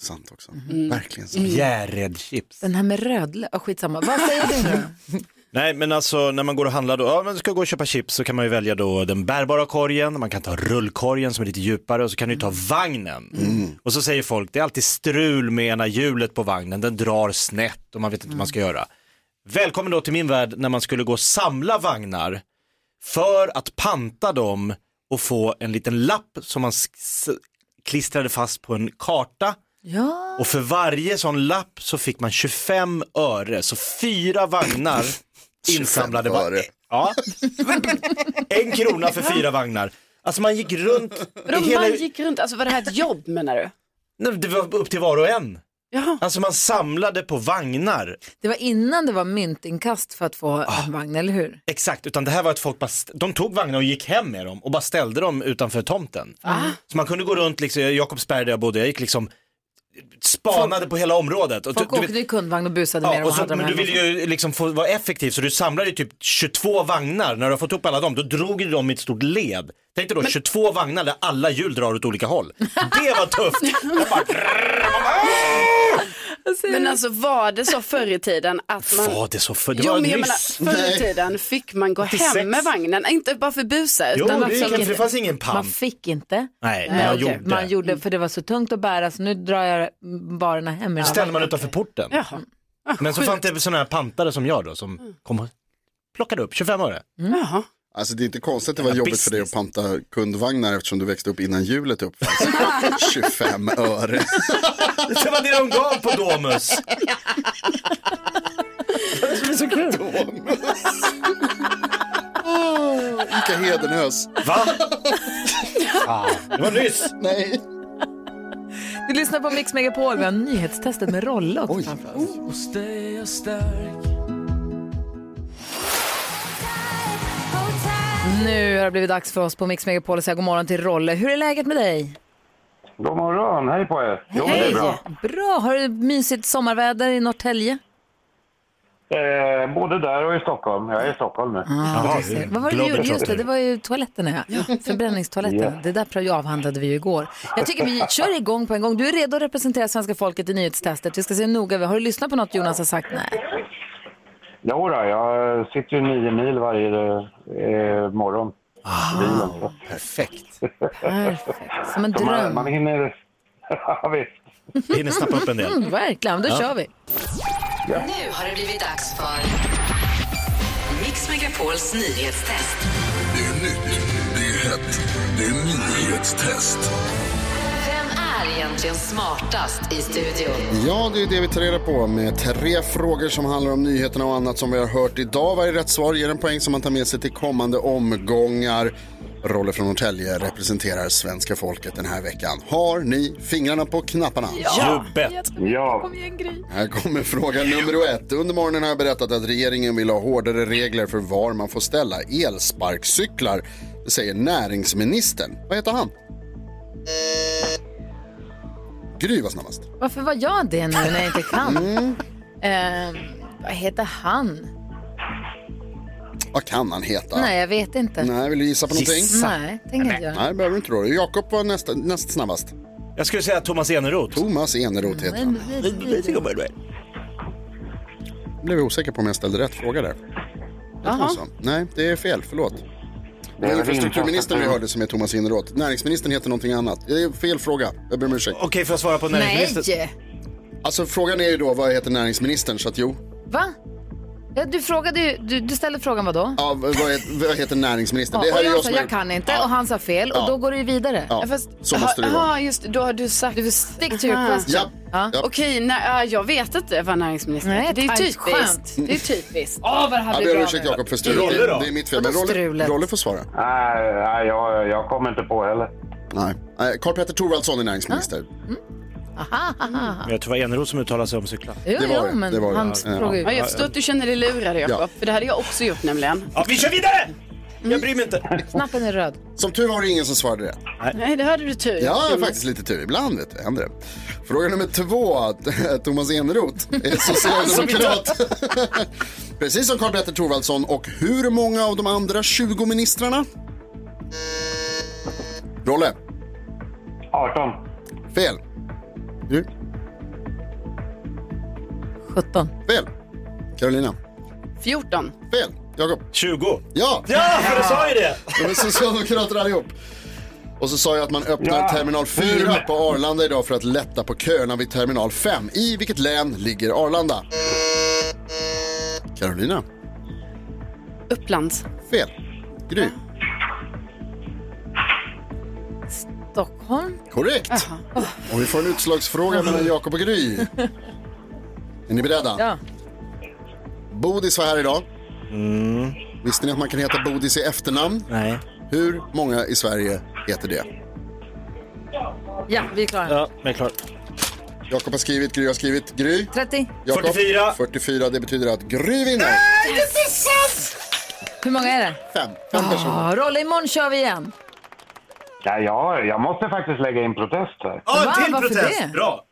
Sant också. Mm. Verkligen sant. Mm. Bjäredchips. Den här med rödlök, oh, skitsamma. Vad säger du nu? Nej men alltså när man går och handlar då, ja men ska gå och köpa chips så kan man ju välja då den bärbara korgen, man kan ta rullkorgen som är lite djupare och så kan du ju ta vagnen. Och så säger folk, det är alltid strul med ena hjulet på vagnen, den drar snett och man vet inte vad man ska göra. Välkommen då till min värld när man skulle gå och samla vagnar för att panta dem och få en liten lapp som man s- s- klistrade fast på en karta Ja. och för varje sån lapp så fick man 25 öre, så fyra vagnar insamlade var. Ja. En krona för fyra vagnar. Alltså man gick runt Vadå, i hela... man gick runt, alltså var det här ett jobb menar du? Nej, Det var upp till var och en. Jaha. Alltså man samlade på vagnar. Det var innan det var myntinkast för att få Ah. en vagn, eller hur? Exakt, utan det här var att folk bara, st- de tog vagnar och gick hem med dem och bara ställde dem utanför tomten. Så man kunde gå runt, liksom, i Jakobsberg där jag bodde, jag gick liksom spanade på hela området. Och, du- Folk du åkte i kundvagn och busade med Ja, dem och och så, hade dem men du hemma. vill ju liksom få vara effektiv så du samlar ju typ 22 vagnar. När du har fått upp alla dem, då drog du dem i ett stort led. Tänk dig då 22 vagnar där alla hjul drar åt olika håll. Det var tufft! Men alltså var det så förr i tiden att man... Var det så för? Det jo, var men jag nyss. menar, förr i Nej. tiden fick man gå 86. hem med vagnen, inte bara för busar. Jo, utan det också- gick inte, för det fanns ingen pamp. Man fick inte. Eh, Nej, men jag okej. gjorde. Man gjorde för det var så tungt att bära så nu drar jag varorna hem. Då ställde man utanför porten. Men så fanns det sådana här pantare som jag då Mm. som kom och plockade upp 25 öre. Alltså det är inte konstigt att det var jobbigt för dig att panta kundvagnar eftersom du växte upp innan hjulet uppfanns. 25 öre. Det var det de gav på Domus. Det är så kul. Ica Hedenös. Va? det var nyss. Nej. Du lyssnar på Mix Megapol, vi har nyhetstestet med Rolle också framför oss. Hos dig är stark. Nu har det blivit dags för oss på Mix Megapol att säga god morgon till Rolle. Hur är läget med dig? God morgon, hej på er. Jo, men det är bra. Bra, har du mysigt sommarväder i Norrtälje? Eh, både där och i Stockholm. Jag är i Stockholm nu. Ah, Vad var det du gjorde? Just det, det var ju toaletten här. Förbränningstoaletten. Ja. Det där pra- avhandlade vi ju igår. Jag tycker vi kör igång på en gång. Du är redo att representera svenska folket i nyhetstestet. Vi ska se noga. över. Har du lyssnat på något Jonas har sagt? Nej. Jo då, jag sitter ju nio mil varje eh, morgon. Ah, perfekt. Perfekt. Som en Så dröm. Man, man hinner... Ja, visst. Hinner snappa upp en Mm, verkligen, då Ja. kör vi. Nu har det blivit dags för Mix Megapols nyhetstest. Det är nytt, det är hett, det är nyhetstest. Vem är egentligen smartast i studion? Ja, det är det vi tar reda på med tre frågor som handlar om nyheterna och annat som vi har hört idag. Varje rätt svar ger en poäng som man tar med sig till kommande omgångar. Rolle från Norrtälje representerar svenska folket den här veckan. Har ni fingrarna på knapparna? Ja. Jobbet! Ja. Här kommer fråga nummer ett. Under morgonen har jag berättat att regeringen vill ha hårdare regler för var man får ställa elsparkcyklar. Det säger näringsministern. Vad heter han? Gry var snabbast. Varför var jag det nu när jag inte kan? Mm. Eh, vad heter han? Vad kan han heta? Nej, jag vet inte. Nej, vill du gissa på någonting? Nej, tänker inte göra. Nej, det behöver du inte då. Jakob var näst, näst snabbast. Jag skulle säga Thomas Eneroth. Thomas Eneroth heter han. Blev jag osäker på om jag ställde rätt fråga där. Jag tror Jaha. så. Nej, det är fel. Förlåt. Det Det är är väl infrastrukturministern vi infrastruktur. hörde som är Thomas Eneroth. Näringsministern heter någonting annat. Det är fel fråga. Jag ber om ursäkt. Okej, får jag svara på Nej, Alltså frågan är ju då vad heter näringsministern? Så att jo. va? Ja, du, frågade, ju- du, du ställde frågan vad då? Ja, vad heter, vad heter näringsministern? Ja, Det här och är jag jag sa som är... jag kan inte och han sa fel och Ja. då går det ju vidare. Ja, så måste det ju vara. Ja, just det, då har du sagt... Du stick to your question. Ja. Ja. Okej, nej, äh, jag vet inte vad näringsministern Nej, heter. Det är tajt, typiskt. skönt. Det är typiskt. Åh, vad det Ja, här jag ber blir om bra ursäkt nu. Jakob för strulet. Rolle då? Det, det är mitt fel. Vadå Men Rolle, strulet? Rolle får svara. Nej, nej jag, jag kommer inte på heller. Nej. Nej, Karl-Petter Thorwaldsson är näringsminister. Aha, aha, aha. Men jag tror det var Eneroth som uttalade sig om cyklar. Jo, Det var jo, det. men Det var det. han frågade ju. Ja, jag förstår att du känner dig lurad Jakob, Ja. för det hade jag också gjort nämligen. Ja, vi kör vidare! Mm. Jag bryr mig inte. Knappen är röd. Som tur var var det ingen som svarade rätt. Nej, det hörde du tur. Ja, Jonas. faktiskt lite tur. Ibland vet du, händer det. Fråga nummer två. Thomas Eneroth är socialdemokrat. Precis som Karl-Petter Thorwaldsson. Och hur många av de andra 20 ministrarna? Rolle. 18. Fel. Du? 17. Fel. Carolina. 14. Fel. Jakob. 20. Ja! Ja, för du sa ju det! De är socialdemokrater allihop. Och så sa jag att man öppnar Ja. terminal 4 på Arlanda idag för att lätta på köerna vid terminal 5. I vilket län ligger Arlanda? Carolina. Upplands. Fel. Gry. Stockholm? Korrekt. Och vi får en utslagsfråga mellan Jakob och Gry. Är ni beredda? Ja. Bodis var här idag. Visste ni att man kan heta Bodis i efternamn? Nej. Hur många i Sverige heter det? Ja, vi är klara. Ja, men klart. Jakob har skrivit, Gry har skrivit. Gry? 30. Jakob? 44. Det betyder att Gry vinner. Hur många är det? Fem. Fem personer. Rolle, imorgon kör vi igen. Ja, jag, jag måste faktiskt lägga in protest här. Ja, en Va? till Varför protest. det? Bra.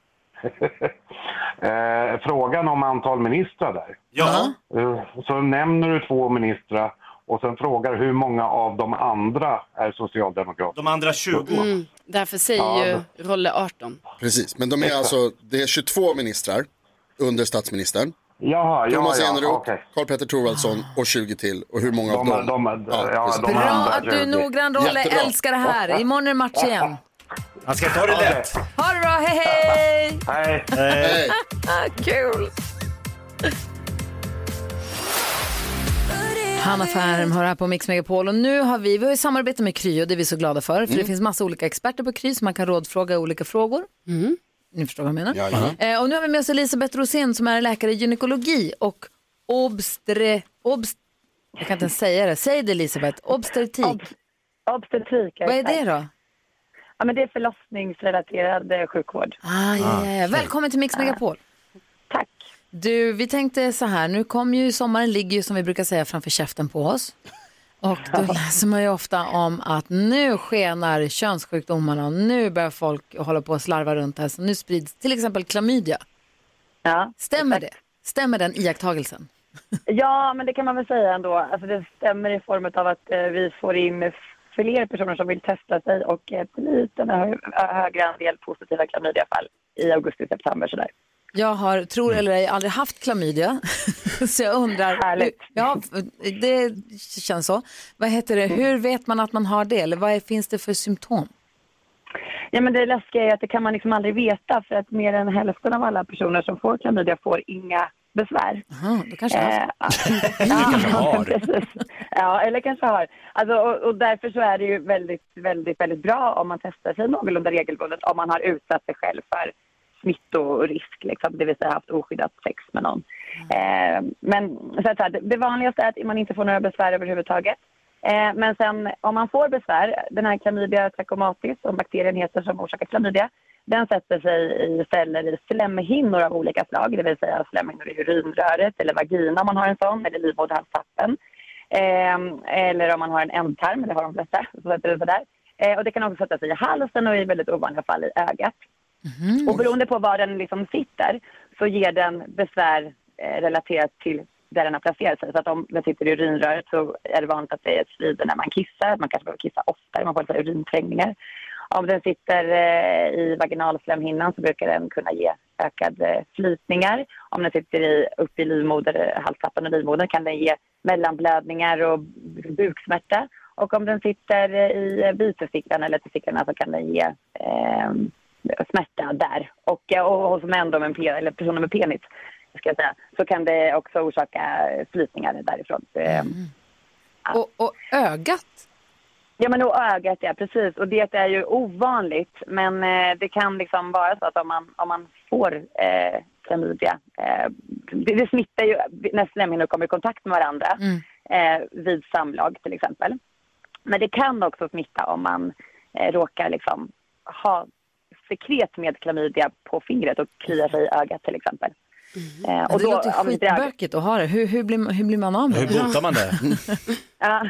eh, frågan om antal ministrar där. Ja. Eh, så nämner du två ministrar och sen frågar hur många av de andra är socialdemokrater. De andra 20. Mm, därför säger Ja, ju Rolle 18. Ah. Precis, men de är Exakt. alltså, det är 22 ministrar under statsministern. Jaha, ja, Thomas ja, Eneroth, okej. Karl-Petter Thorwaldsson och 20 till. Och hur många av De- dem? de- ja, precis. de Bra andra Att du är noggrann, Rolle. Jättebra. Älskar det här. Imorgon är det match igen. Han ska ta det lätt. Ha det bra, hej hej! Hej! Hej. Kul! Hanna Färm har här på Mix Megapol och nu har vi, vi har ju samarbete med Kry och det är vi så glada för. För det Mm. finns massa olika experter på Kry som man kan rådfråga i olika frågor. Ni förstår vad jag menar. Jajamän. Eh, och nu har vi med oss Elisabeth Rosén som är läkare i gynekologi och obstre... Obst, jag kan inte ens säga det. Säg det Elisabeth. Obstetrik. Obstetrik. Vad är det exakt. då? Ja, men det är förlossningsrelaterad eh, sjukvård. Ah, ja, ja, ja. Välkommen till Mix Megapol. Tack. Du, vi tänkte så här, nu kommer ju sommaren ligger ju som vi brukar säga framför käften på oss. Och då läser man ju ofta om att nu skenar könssjukdomarna, nu börjar folk hålla på och slarva runt här, så nu sprids till exempel klamydia. Ja, Stämmer det? Stämmer den iakttagelsen? Ja, men det kan man väl säga ändå. Alltså, det stämmer i form av att eh, vi får in f- fler personer som vill testa sig och eh, lite hö- högre andel positiva klamydiafall i augusti-september. Sådär. Jag har, tror eller ej, aldrig haft klamydia. så jag undrar. Härligt. Ja, det känns så. Vad heter det, hur vet man att man har det? Eller vad är, finns det för symptom? Ja, men det läskiga är att det kan man liksom aldrig veta för att mer än hälften av alla personer som får klamydia får inga besvär. Aha, då kanske jag har Eh, Ja, precis. ja, eller kanske har. Alltså, och, och därför så är det ju väldigt, väldigt, väldigt bra om man testar sig någorlunda regelbundet om man har utsatt sig själv för smittorisk, liksom, det vill säga haft oskyddat sex med någon. Eh, men så att, så här, det- det vanligaste är att man inte får några besvär överhuvudtaget. Eh, men sen om man får besvär, den här klamydia trachomatis, som bakterien heter som orsakar klamydia, den sätter sig i celler i slemhinnor av olika slag, det vill säga slemhinnor i urinröret eller vagina om man har en sån, eller livmoderhalstappen. Ehm, eller om man har en ändtarm, det har de flesta, så sätter det sig där. Eh, och det kan också sätta sig i halsen och i väldigt ovanliga fall i ögat. Och beroende på var den liksom sitter så ger den besvär eh, relaterat till där den har placerat sig. Så att om den sitter i urinröret så är det vanligt att det svider när man kissar. Man kanske behöver kissa oftare, man får lite urinträngningar. Om den sitter eh, i vaginalslemhinnan så brukar den kunna ge ökade flytningar. Om den sitter i, uppe i livmoder, halstappen och livmodern kan den ge mellanblödningar och buksmärta. Och om den sitter i bifurfickan eller testicklarna så kan den ge ehm, smärta där. Och, och hos män då med, pe- eller personer med penis ska jag säga, så kan det också orsaka flytningar därifrån. Och, ögat? Ja, men och ögat, ja precis. Och det är ju ovanligt, men eh, det kan liksom vara så att om man, om man får eh, klamydia, eh, det, det smittar ju när slemhinnor kommer i kontakt med varandra Mm. eh, vid samlag till exempel. Men det kan också smitta om man eh, råkar liksom ha sekret med klamydia på fingret och kliar sig i ögat till exempel. Eh, Mm. Ja, det låter om inte ögat- skitbökigt att ha det. Hur, hur, blir, man- hur blir man av med Hur det? botar man det? Ja.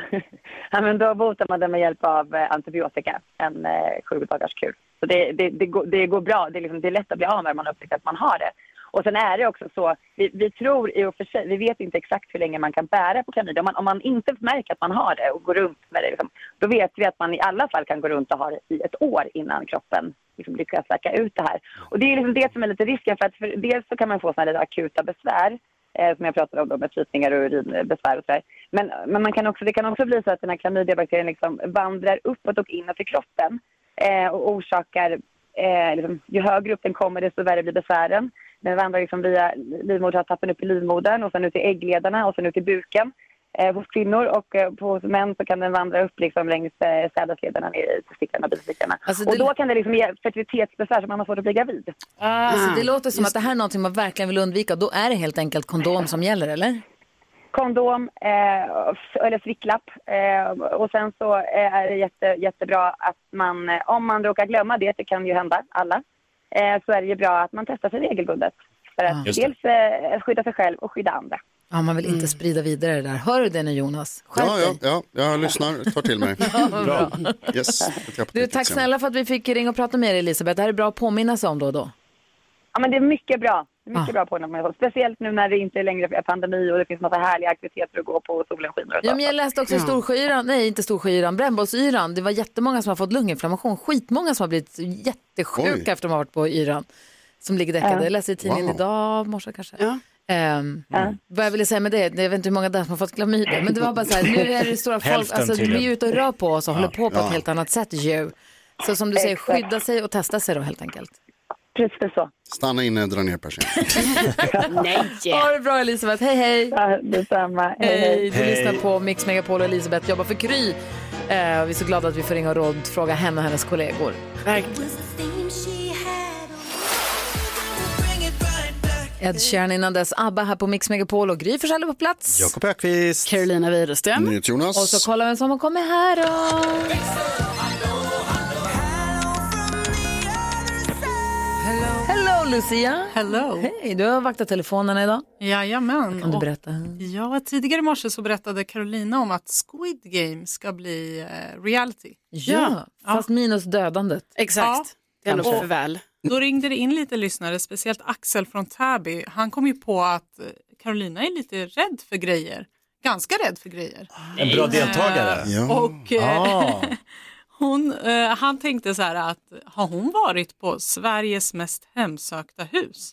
ja, men då botar man det med hjälp av eh, antibiotika, en eh, sju dagars kur. Så det, det, det, går, det går bra, det är, liksom, det är lätt att bli av med om man upptäcker att man har det. Och sen är det också så, vi, vi tror i och för sig, vi vet inte exakt hur länge man kan bära på klamydia. Om man, om man inte märker att man har det och går runt med det, liksom, då vet vi att man i alla fall kan gå runt och ha det i ett år innan kroppen liksom lyckas läka ut det här. Och det är liksom det som är lite risken, för att för, dels så kan man få såna här lite akuta besvär, eh, som jag pratade om då, med flytningar och urinbesvär och sådär. Men, men man kan också, det kan också bli så att den här klamydiabakterien liksom vandrar uppåt och inåt i kroppen eh, och orsakar, eh, liksom, ju högre upp den kommer desto värre blir besvären. Den vandrar liksom via livmodertappen upp i livmodern och sen ut i äggledarna och sen ut i buken eh, hos kvinnor och eh, på hos män så kan den vandra upp liksom längs eh, sädesledarna ner i testiklarna och bifurickarna. Alltså, Och det- då kan det liksom ge fertilitetsbesvär som man har svårt att bli gravid. Alltså, det låter som att det här är någonting man verkligen vill undvika. Då är det helt enkelt kondom som gäller, eller? kondom eh, f- eller svicklapp. Eh, och sen så eh, är det jätte, jättebra att man, eh, om man råkar glömma det, det kan ju hända alla, eh, så är det ju bra att man testar sig regelbundet. För att Just det. dels eh, skydda sig själv och skydda andra. Ja, man vill inte sprida vidare det där. Hör du det nu, Jonas? Skärp Ja, ja, ja, jag lyssnar, tar till mig. Bra. Yes, jag tar på Du, ditt tack exempel. snälla för att vi fick ringa och prata med dig, Elisabeth. Det här är bra att påminna sig om då och då. Ja, men det är mycket bra. Det är mycket Ah. bra på honom. Speciellt nu när det inte längre är pandemi och det finns massa härliga aktiviteter att gå på och solen skiner. och så. Ja, men jag läste också Storsjöyran, nej inte Storsjöyran, brännbollsyran. Det var jättemånga som har fått lunginflammation, skitmånga som har blivit jättesjuka Oj. efter att de har varit på yran. Som ligger däckade. Ja. Jag läste i tidningen Wow. idag morse kanske. Ehm, Vad jag ville säga med det, jag vet inte hur många där som har fått klamydia, men det var bara så här, nu är det stora folk, Hälften alltså vi tydligen. är ute och rör på oss och Ja. håller på på Ja. ett helt annat sätt ju. Så som du säger, Exakt. skydda sig och testa sig då helt enkelt. Precis så. Stanna inne och dra ner persiennerna. Nej! Ha det bra Elisabeth, hej hej! Ja, detsamma, hej hej! Du Hej. lyssnar på Mix Megapol och Elisabeth jobbar för Kry. Eh, vi är så glada att vi får ringa och rådfråga henne och hennes kollegor. Ed Sheeran innan dess, ABBA här på Mix Megapol och Gry Forssell är på plats. Jakob Ökvist. Carolina Widerström. Och så kolla vem som har kommit här då! Hello Lucia! Hello! Hej, du har vaktat telefonerna idag. Jajamän. Kan du Och- berätta? Ja, tidigare i morse så berättade Carolina om att Squid Game ska bli eh, reality. Ja, fast minus dödandet. Exakt. Det är ändå Och för väl. Då ringde det in lite lyssnare, speciellt Axel från Täby. Han kom ju på att eh, Carolina är lite rädd för grejer. Ganska rädd för grejer. En bra deltagare. Eh, Och, eh, Ah. hon, eh, han tänkte så här att har hon varit på Sveriges mest hemsökta hus?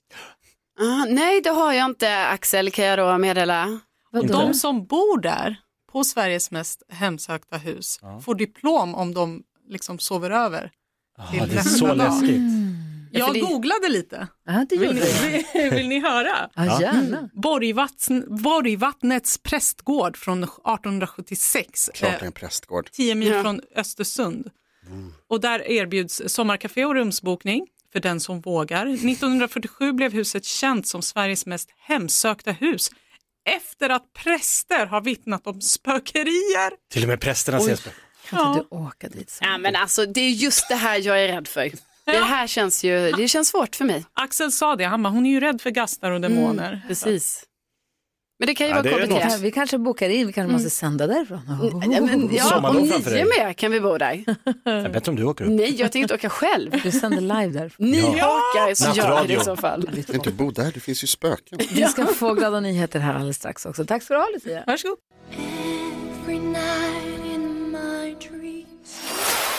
Ah, nej, det har jag inte Axel kan jag då meddela. De som bor där på Sveriges mest hemsökta hus får diplom om de liksom sover över. till Ah, det är nästa så dag. läskigt. Jag googlade lite. det vill, gjorde ni, vill ni höra? Ja, Ja. Mm. gärna. Borgvattn, Borgvattnets prästgård från 1876. Klart det eh, är en prästgård. 10 mil från Östersund. Och där erbjuds sommarkafé och rumsbokning för den som vågar. 1947 blev huset känt som Sveriges mest hemsökta hus efter att präster har vittnat om spökerier. Till och med prästerna ses på. Kan inte du åka dit? Ja, men alltså, det är just det här jag är rädd för. Det här känns ju, det känns svårt för mig. Axel sa det, han bara, hon är ju rädd för gastar Mm. och demoner. precis. Men det kan ju Ja, det vara är komplicerat. något. Oh, Vi kanske bokar in, vi kanske Mm. måste sända därifrån. Oh, Ja, men, ja, Sommarlov om framför dig. ni är med kan vi bo där. Jag vet om du åker upp. Nej, jag tänkte åka själv. Du sänder live där. Ni Ja. hakar så gör vi det Nattradio. i så fall. Inte bo där, det finns ju spöken. Vi ska få glada nyheter här alldeles strax också. Tack ska du ha Lucia. Varsågod.